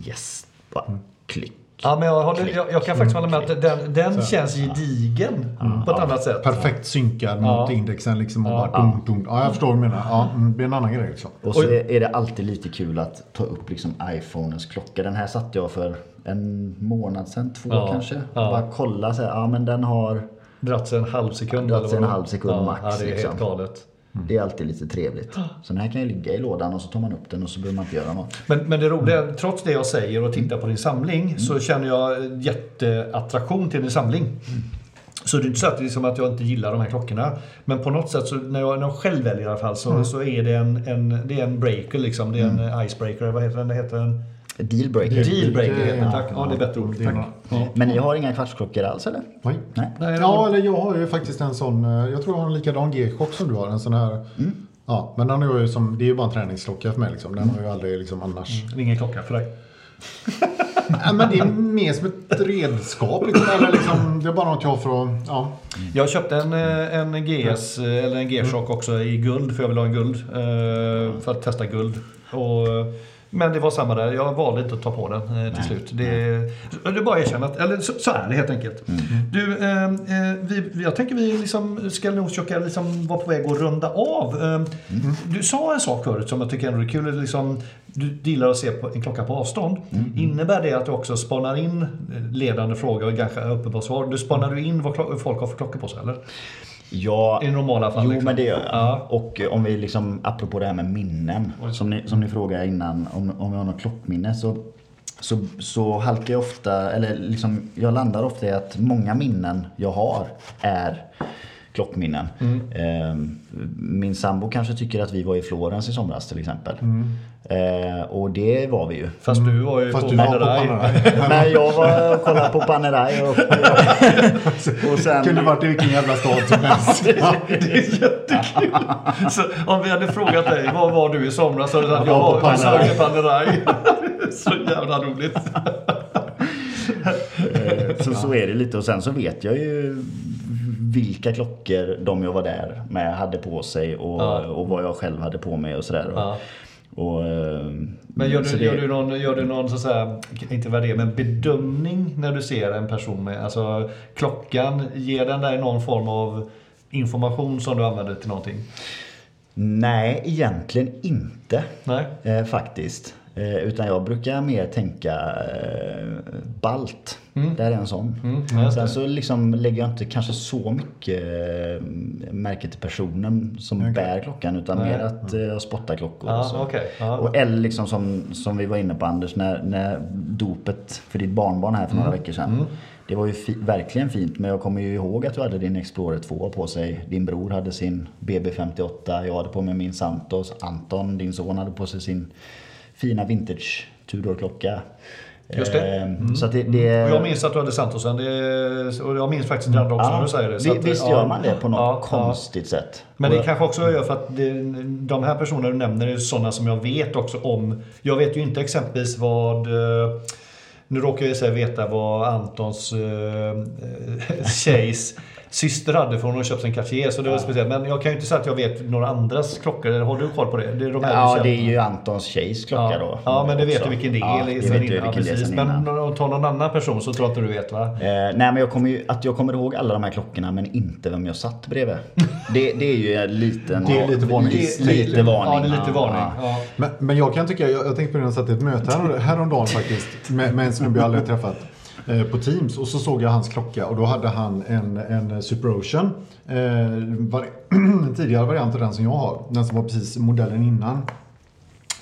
C: yes, bara
A: Mm.
C: klick.
A: Ja, men jag, håller, jag, jag kan faktiskt hålla med att den, den känns gedigen
B: Mm.
A: på ett annat sätt.
B: Perfekt synkad mot indexen liksom. Och bara dunk, dunk. Ja, jag förstår vad du menar. Ja, mm, det är en annan grej liksom.
C: Och så är är det alltid lite kul att ta upp liksom iPhonens klocka. Den här satte jag för en månad sedan, två
A: Ja,
C: kanske. Och
A: ja.
C: Bara kolla så här, ja men den har...
A: Dratt sig en halv sekund.
C: Dratt sig en
A: eller vad?
C: halv sekund
A: ja,
C: max,
A: Ja, det är
C: liksom.
A: helt galet.
C: Det är alltid lite trevligt. Så den här kan ju ligga i lådan och så tar man upp den och så behöver man inte göra något.
A: Men, men det roliga, är, trots det jag säger och tittar på din samling
B: Mm.
A: så känner jag jätteattraktion till din samling. Så det är inte så att, det är som att jag inte gillar de här klockorna. Men på något sätt, så när, jag, när jag själv väljer i alla fall, så,
B: Mm.
A: så är det en, en, det är en breaker liksom. Det är en icebreaker, vad heter den? Det heter en
C: Dealbreaker.
A: dealbreaker.
B: det-
A: Heter den.
B: ja,
A: Tack. Ja, det är bättre ord.
B: det är
A: Tack.
B: bra.
A: Ja.
C: Mm. Men ni har inga kvartsklockor alls eller?
B: Oj.
C: Nej.
A: Nej, det
B: Ja,
A: var-
B: eller jag har ju faktiskt en sån. eh, Jag tror jag har en likadan G-chock som du har. En sån här. Ja, men den är ju som, det är ju bara en träningsklocka för mig liksom. Den har ju aldrig liksom annars.
A: det är ingen klocka för dig. Mm.
B: Ja, men det är mer som ett redskap liksom. Eller liksom, det är bara något jag har för att, ja.
A: Mm. Jag köpte en, eh, en GS, eh, eller en G-Shock också i guld, för jag vill ha en guld. eh, För att testa guld. Och, eh, men det var samma där, jag valde inte att ta på den eh, till slut. Det, det är bara att erkänna, att- eller så, så är det helt enkelt. Du, eh, eh, vi, jag tänker vi liksom ska nog försöka liksom vara på väg att runda av. Eh, Du sa en sak förut som jag tycker ändå är kul. det är Liksom, du gillar att se på en klocka på avstånd. Innebär det att du också spanar in eh, ledande frågor och kanske uppenbara svar? Du spanar du in vad klo- folk har för klockor på sig eller?
C: Ja,
A: I normala fall.
C: Jo,
A: liksom.
C: men det gör jag.
A: Ja.
C: Och eh, om vi liksom, apropå det här med minnen, som ni, som ni frågade innan, om, om jag har något klockminne så så, så halkar jag ofta, eller liksom, jag landar ofta i att många minnen jag har är klockminnen.
A: Mm.
C: Eh, min sambo kanske tycker att vi var i Florens i somras till exempel.
A: Mm.
C: Eh, och det var vi ju.
A: Fast du var ju
B: Fast
A: på
B: du var på
A: Panerai.
B: Panerai.
C: (laughs) Nej, jag var och kollade på Panerai och,
A: (laughs)
C: och sen...
B: Kunde varit i vilken jävla stad som helst.
A: (laughs) Det är jättekul! Så om vi hade frågat dig, vad var du i somras? Så hade du sagt, jag var på Panerai. Panerai. (laughs) Så jävla roligt.
C: Eh, Så, så är det lite och sen så vet jag ju vilka klockor de jag var där med hade på sig och,
A: Ja.
C: och vad jag själv hade på mig och sådär.
A: Ja.
C: Och, eh,
A: Men gör
C: så
A: du,
C: det-
A: gör du någon, gör du någon så att säga, inte värdering, men bedömning när du ser en person med, alltså klockan, ger den dig någon form av information som du använder till någonting?
C: Nej, egentligen inte
A: Nej?
C: eh, faktiskt. Eh, utan jag brukar mer tänka eh, balt. Det här är en sån.
A: Mm. ja, just
C: Sen så liksom lägger jag inte kanske så mycket eh, märke till personen som bär klockan utan mer att eh, jag spottar klockor.
A: Ja,
C: och så.
A: okej. Ja.
C: Och eller liksom som, som vi var inne på Anders, när, när dopet för ditt barnbarn här för några
A: Mm.
C: veckor sedan. Det var ju fi, verkligen fint men jag kommer ju ihåg att du hade din Explorer 2 på sig. Din bror hade sin BB58, jag hade på mig min Santos. Anton, din son, hade på sig sin fina vintage Tudor-klocka.
A: Just det. Mm.
C: Eh, Så att det, det...
A: Och jag minns att du hade Santosen, det, och jag minns faktiskt den andra också när du säger det. Så
C: vi-
A: att,
C: visst
A: ja.
C: gör man det på något
A: Ja, ja.
C: konstigt sätt?
A: Men det
C: Och-
A: kanske också jag gör för att det, de här personerna du nämner är sådana som jag vet också om. Jag vet ju inte exempelvis vad... eh, Nu råkar jag säga veta vad Antons eh, eh, (laughs) tjejs syster hade för hon har köpt en Cartier. Så det var speciellt. Men jag kan ju inte säga att jag vet några andras klockor. Eller har du koll på det? Det är de här du
C: Ja,
A: känner.
C: det är ju Antons tjejs klocka
A: ja.
C: då.
A: Ja, men det vet
C: också.
A: du vilken det
C: Ja,
A: är.
C: det
A: sen
C: vet
A: innan.
C: jag
A: Ja,
C: vilken det är
A: precis.
C: sen innan.
A: Men om du tar någon annan person så tror jag inte du vet va?
C: Eh, nej men jag kommer ju, att jag kommer ihåg alla de här klockorna men inte vem jag satt bredvid. Det, det är ju en liten...
B: Det är lite varning.
C: Lite,
B: Det är-
C: lite varning.
A: Ja, det är lite varning. Ja.
B: Men, men jag kan tycka, jag, jag tänkte på det när jag satt i ett möte här, häromdagen faktiskt med, med en snubbe jag aldrig har träffat eh, på Teams och så såg jag hans klocka och då hade han en, en Super Ocean. Eh, var, (clears throat) en tidigare variant av den som jag har. Den som var precis modellen innan.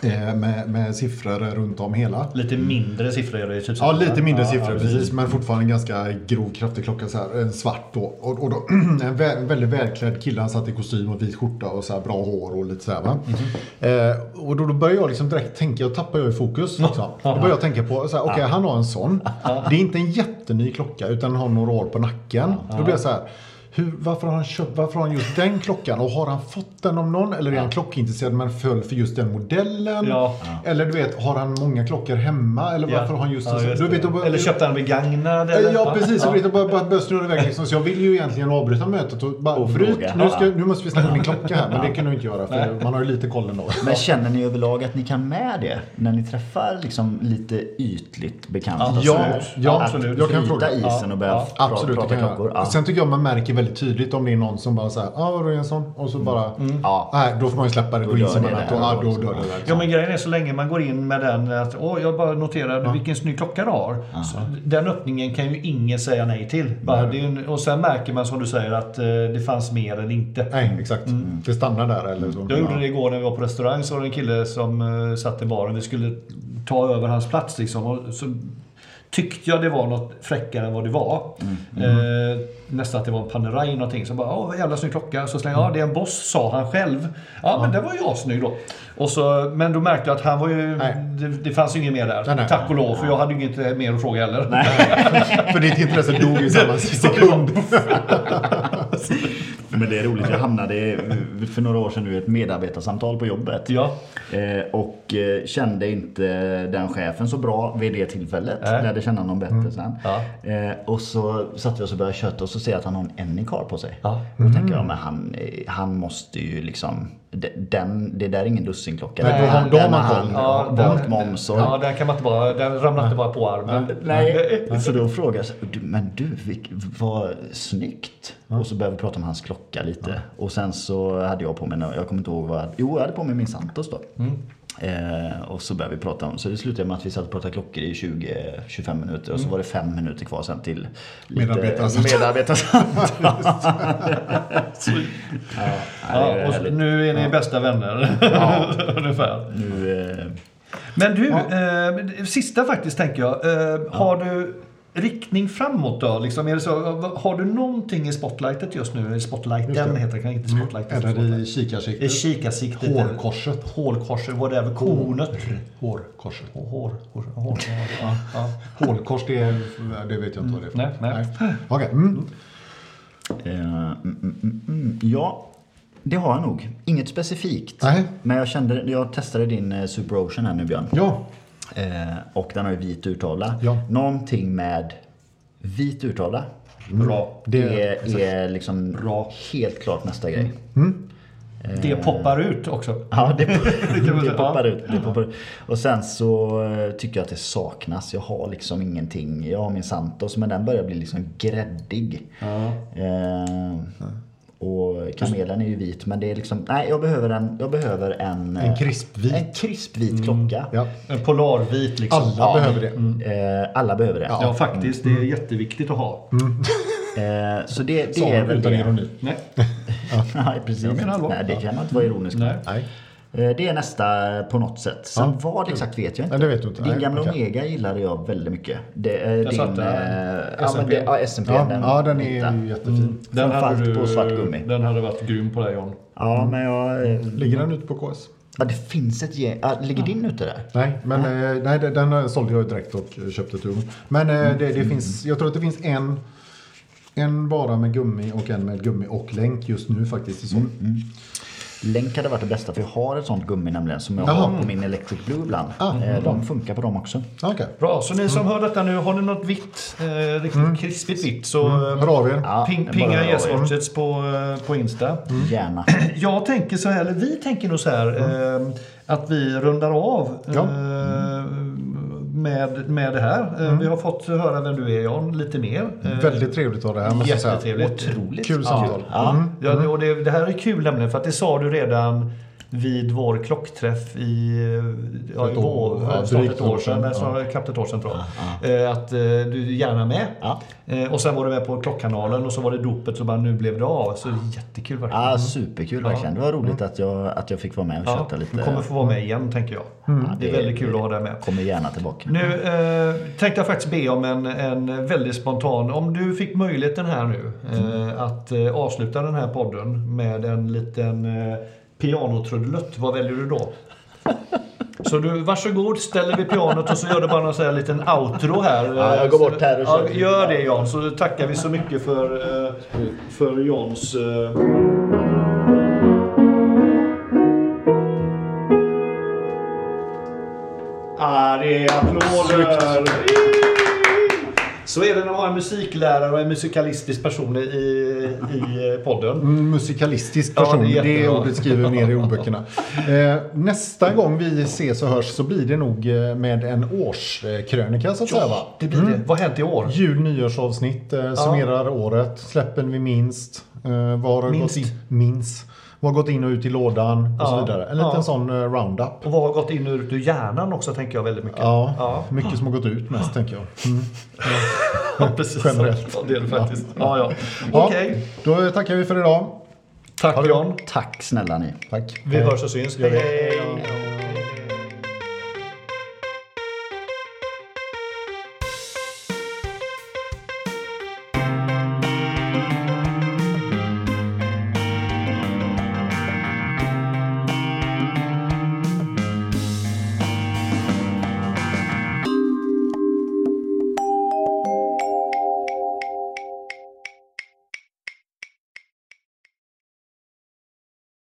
B: Eh, med, med siffror runt om hela.
A: Lite mindre siffror är det typ så,
B: Ja,
A: va?
B: lite mindre
A: Ja,
B: siffror
A: ja,
B: precis. Men fortfarande en ganska grov, kraftig klocka. Så här, en svart då. Och, och då (clears throat) en vä väldigt välklädd kille. Han satt i kostym och vit skjorta och så här, bra hår och lite så här, va?
A: Mhm.
B: eh, Och då, då började jag liksom direkt tänka, jag tappar jag
A: (laughs)
B: i fokus. Liksom. Då började jag tänka på, så här, okej han har en sån. Det är inte en jätteny klocka utan han har några år på nacken. Då blir jag så här. Hur, varför, har han köpt, varför har han just den klockan? Och har han fått den av någon? Eller är han klockintresserad men föll för just den modellen?
A: Ja.
B: Eller du vet, har han många klockor hemma? Eller
A: Ja.
B: varför har han just
A: Ja,
B: en sån? Du vet,
A: det.
B: då bör-
A: Eller köpte han begagnad?
B: Eh,
A: Eller?
B: Ja, precis. Jag vet, bara, bara började snurra iväg. Liksom. Så jag vill ju egentligen avbryta mötet och bara
C: Och
B: bryt.
C: fråga.
B: Nu, ska, nu måste vi snacka om din klocka här. Men det kan du inte göra för man har ju lite koll ändå.
C: Men känner ni överlag att ni kan med det? När ni träffar liksom lite ytligt bekanta
A: Ja,
C: sådär?
B: ja,
C: Att
A: absolut.
B: Jag kan
C: bryta
B: fråga.
C: isen och börja
A: Ja,
C: pra-
B: Absolut, det
C: prata
B: kan jag.
C: klockor. Ja.
B: Sen tycker jag man märker väldigt tydligt om det är någon som bara säger ja ah, vadå Jensson? Och så bara,
C: Ja.
B: nej då får man ju släppa det. Gå in
C: dör
B: som
C: det
B: en natt
C: där.
B: och ah, då dör det där.
A: Ja men grejen är så länge man går in med den att åh, jag bara noterade vilken snygg klocka du har. Så Den öppningen kan ju ingen säga nej till. Bara, det är ju en, och sen märker man som du säger att eh, det fanns mer eller inte.
B: Nej, exakt. Det stannar där eller så.
A: Jag gjorde det igår när vi var på restaurang så var det en kille som eh, satt i baren. Vi skulle ta över hans plats liksom. Och så tyckte jag det var något fräckare än vad det var.
B: Mm.
A: Eh, nästan att det var en Panerai eller någonting. Så bara, åh vad jävla snygg klocka. Så slängde jag, ja det är en Boss sa han själv. Ja, men det var jag snygg då. Och så, men då märkte jag att han var ju,
B: Nej.
A: det, det fanns ju inget mer där.
B: Nej, nej.
A: Tack och lov, för jag hade ju inget eh, mer att fråga heller.
B: För ditt intresse dog i samma sekund.
C: Men det är roligt, jag hamnade för några år sedan nu i ett medarbetarsamtal på jobbet.
A: Ja.
C: Eh, och eh, kände inte den chefen så bra vid det tillfället.
A: Nej. Mm.
C: Lärde känna honom bättre sen.
A: Ja.
C: Eh, och så satt vi oss och började köta och så ser jag att han har en Anycar på sig.
A: Ja. Mm.
C: Och Då tänker jag, men han, eh, han måste ju liksom... de- Den, det där är ingen dussinklocka.
B: Nej, då har-
C: Den
B: då har
C: har
B: man
C: han
B: koll.
A: Ja,
C: valt moms och...
A: ja, där kan man inte bara, den ramlar inte bara på armen.
C: Nej. Så då frågar jag så här, "Du, men du, vilk- vad snyggt. Och så började vi prata om hans klocka lite. Och sen så hade jag på mig, nå- jag kommer inte ihåg vad, jag hade- jo jag hade på mig min Santos då. Eh, och så började vi prata om, så det slutade med att vi satt och pratade klockor i 20-25 minuter och så var det fem minuter kvar sen till lite-
B: Medarbetarsamtal.
C: medarbetarsamtal. ja,
A: Ja,
C: det är
A: och
C: härligt.
A: nu är ni bästa vänner. (laughs) Ungefär.
C: Nu, eh,
A: Men du, eh, sista faktiskt tänker jag. Eh, Har du riktning framåt då? Liksom, är det så, har du någonting i spotlightet just nu? Eller
B: Just
A: Spotlighten
B: det. Mm.
A: heter det, kanske inte spotlightet.
B: Eller i
A: spotlight. I
B: kikarsiktet.
A: kikarsiktet.
B: Hårkorset.
A: Hålkorset, whatever. Kornet.
B: Hårkorset.
A: Hår, hår, hår, hår. Ja, ja.
B: Hålkors, det, det vet jag inte vad det är. för
A: Nej, nej.
B: något. Okej. Mm.
C: Eh, mm, mm, mm, mm. Ja, det har jag nog. Inget specifikt.
B: Nej.
C: Men jag kände, jag testade din eh, Super Ocean här nu Björn.
B: Ja.
C: Eh, och den har ju vit urtavla.
B: Ja.
C: Någonting med vit urtavla.
A: Bra.
C: Det
B: Mm. Det-
C: är, är liksom
A: Bra.
C: helt klart nästa grej.
A: Det poppar ut också.
C: (laughs) Ja, det,
A: kan man
C: det,
A: säga.
C: poppar ut, det poppar ut. Och sen så eh, tycker jag att det saknas. Jag har liksom ingenting. Jag har min Santos men den börjar bli liksom gräddig. Eh, och kamelen är ju vit men det är liksom, nej jag behöver en, jag behöver en, eh,
B: En krispvit.
C: en krispvit klocka.
B: ja.
A: En polarvit liksom.
B: Alla
A: Ja.
B: behöver det.
C: Eh, alla behöver det.
A: Ja, faktiskt. Det är jätteviktigt att ha.
B: Mm.
C: Eh, så det, det
B: Sa
C: är
B: han
C: väl
B: utan
C: (laughs) det.
B: ironi.
A: Nej.
C: nej precis.
A: Jag menar allvar.
C: nej, det kan man inte vara ironisk
A: Nej.
B: Nej.
C: Eh, Det är nästa på något sätt. Sen
B: Ja.
C: vad exakt vet jag inte.
B: Nej, det vet du inte.
C: Din
B: Nej,
C: gamla
B: okej.
C: Omega gillade jag väldigt mycket. Det, eh, din,
A: satte
C: eh, ja,
A: SMP.
C: men det, ja, SMP.
B: Ja,
C: den,
B: ja, den är
C: vita. Mm.
B: ju jättefin.
A: Den
C: Framförallt
A: hade, du,
C: på svart gummi.
A: den hade varit grym på dig John.
C: Ja, men jag... eh,
B: Ligger den ute på KS?
C: Ja, det finns ett gäng. Ja, ligger din ute där?
B: Nej, men eh, nej, den- den sålde jag ju direkt och köpte ett ugn. Men
C: Mm.
B: eh, det, det finns, jag tror att det finns en, en bara med gummi och en med gummi och länk just nu faktiskt. i såld.
C: Mm, Länk hade varit det bästa för jag har ett sånt gummi nämligen som jag
B: Jaha.
C: har på min Electric Blue ibland.
B: Ah,
C: Eh, de funkar på dem också.
B: Ja, Okej.
A: Bra, så ni som
B: Mm.
A: hör detta nu, har ni något vitt, eh, riktigt krispigt vitt så eh,
B: Hör av er.
C: Ja,
A: ping,
C: bara
A: pinga
C: hör av er.
A: gästwatchets på, eh, på Insta.
B: Mm. (clears throat)
C: Gärna.
A: Jag tänker så här, eller vi tänker nog så här, eh, att vi rundar av eh,
B: Mm. Ja.
A: med, med det här. Eh, Vi har fått höra vem du är John, lite mer. Eh,
B: Mm. Väldigt trevligt av det här. måste jag säga.
A: Jättetrevligt.
C: Otroligt.
B: Kul samtal.
C: Ja.
A: Ja, och det, det här är kul nämligen för att det sa du redan vid vår klockträff i, ja, i
B: Ett år,
A: vår,
B: ja,
A: snart
B: drygt
A: ett år sedan, men snarare knappt ett år sedan tror jag. Eh, Att eh, du är gärna med.
C: Ja.
A: Eh, Och sen var du med på klockkanalen och så var det dopet så bara nu blev det av. Så det är jättekul verkligen.
C: Ja, superkul verkligen. Det var roligt att jag, att jag fick vara med och
A: Ja,
C: köta lite.
A: du kommer få vara med igen tänker jag.
C: Ja,
A: Det är väldigt kul att ha dig med.
C: Kommer gärna tillbaka.
A: Nu eh, tänkte jag faktiskt be om en, en väldigt spontan, om du fick möjligheten här nu eh, att eh, avsluta den här podden med en liten eh, pianotrudelutt, vad väljer du då? Så du, varsågod, ställer vi pianot och så gör du bara någon sån här liten outro här.
C: Ja, jag går bort här och
A: ja,
C: kör.
A: Gör det Jan, så tackar vi så mycket för, eh, för Jans... Eh, Ah, det är applåder! Så är det när man har en musiklärare och en musikalistisk person i, i podden.
B: Mm, Musikalistisk
A: Ja, det är
B: person, det, är
A: jättebra.
B: ordet skriver vi ner
A: (laughs)
B: i ordböckerna. Eh, nästa gång vi ses och hörs så blir det nog eh, med en årskrönika så att säga va?
A: det blir det. Mm. Vad har hänt i år?
B: Jul nyårsavsnitt, eh, summerar året, släppen vi minst, eh, vad har
A: Minst.
B: gått in, minst, vad har gått in och ut i lådan och
A: Ja.
B: så vidare. En liten
A: Ja.
B: sån eh, roundup.
A: Och vad har gått in ur ur hjärnan också tänker jag väldigt mycket.
B: Ja,
A: Ja.
B: mycket som har gått ut mest tänker jag. Mm.
A: Ja, precis.
B: Generellt.
A: Ja, det är det faktiskt. Ja, ja.
B: Ja,
A: Okej.
B: Då eh, tackar vi för idag.
A: Tack
B: det bra.
A: Jan.
C: Tack snälla ni.
B: Tack.
A: Vi hörs och syns. Hej, hej.
B: Hej.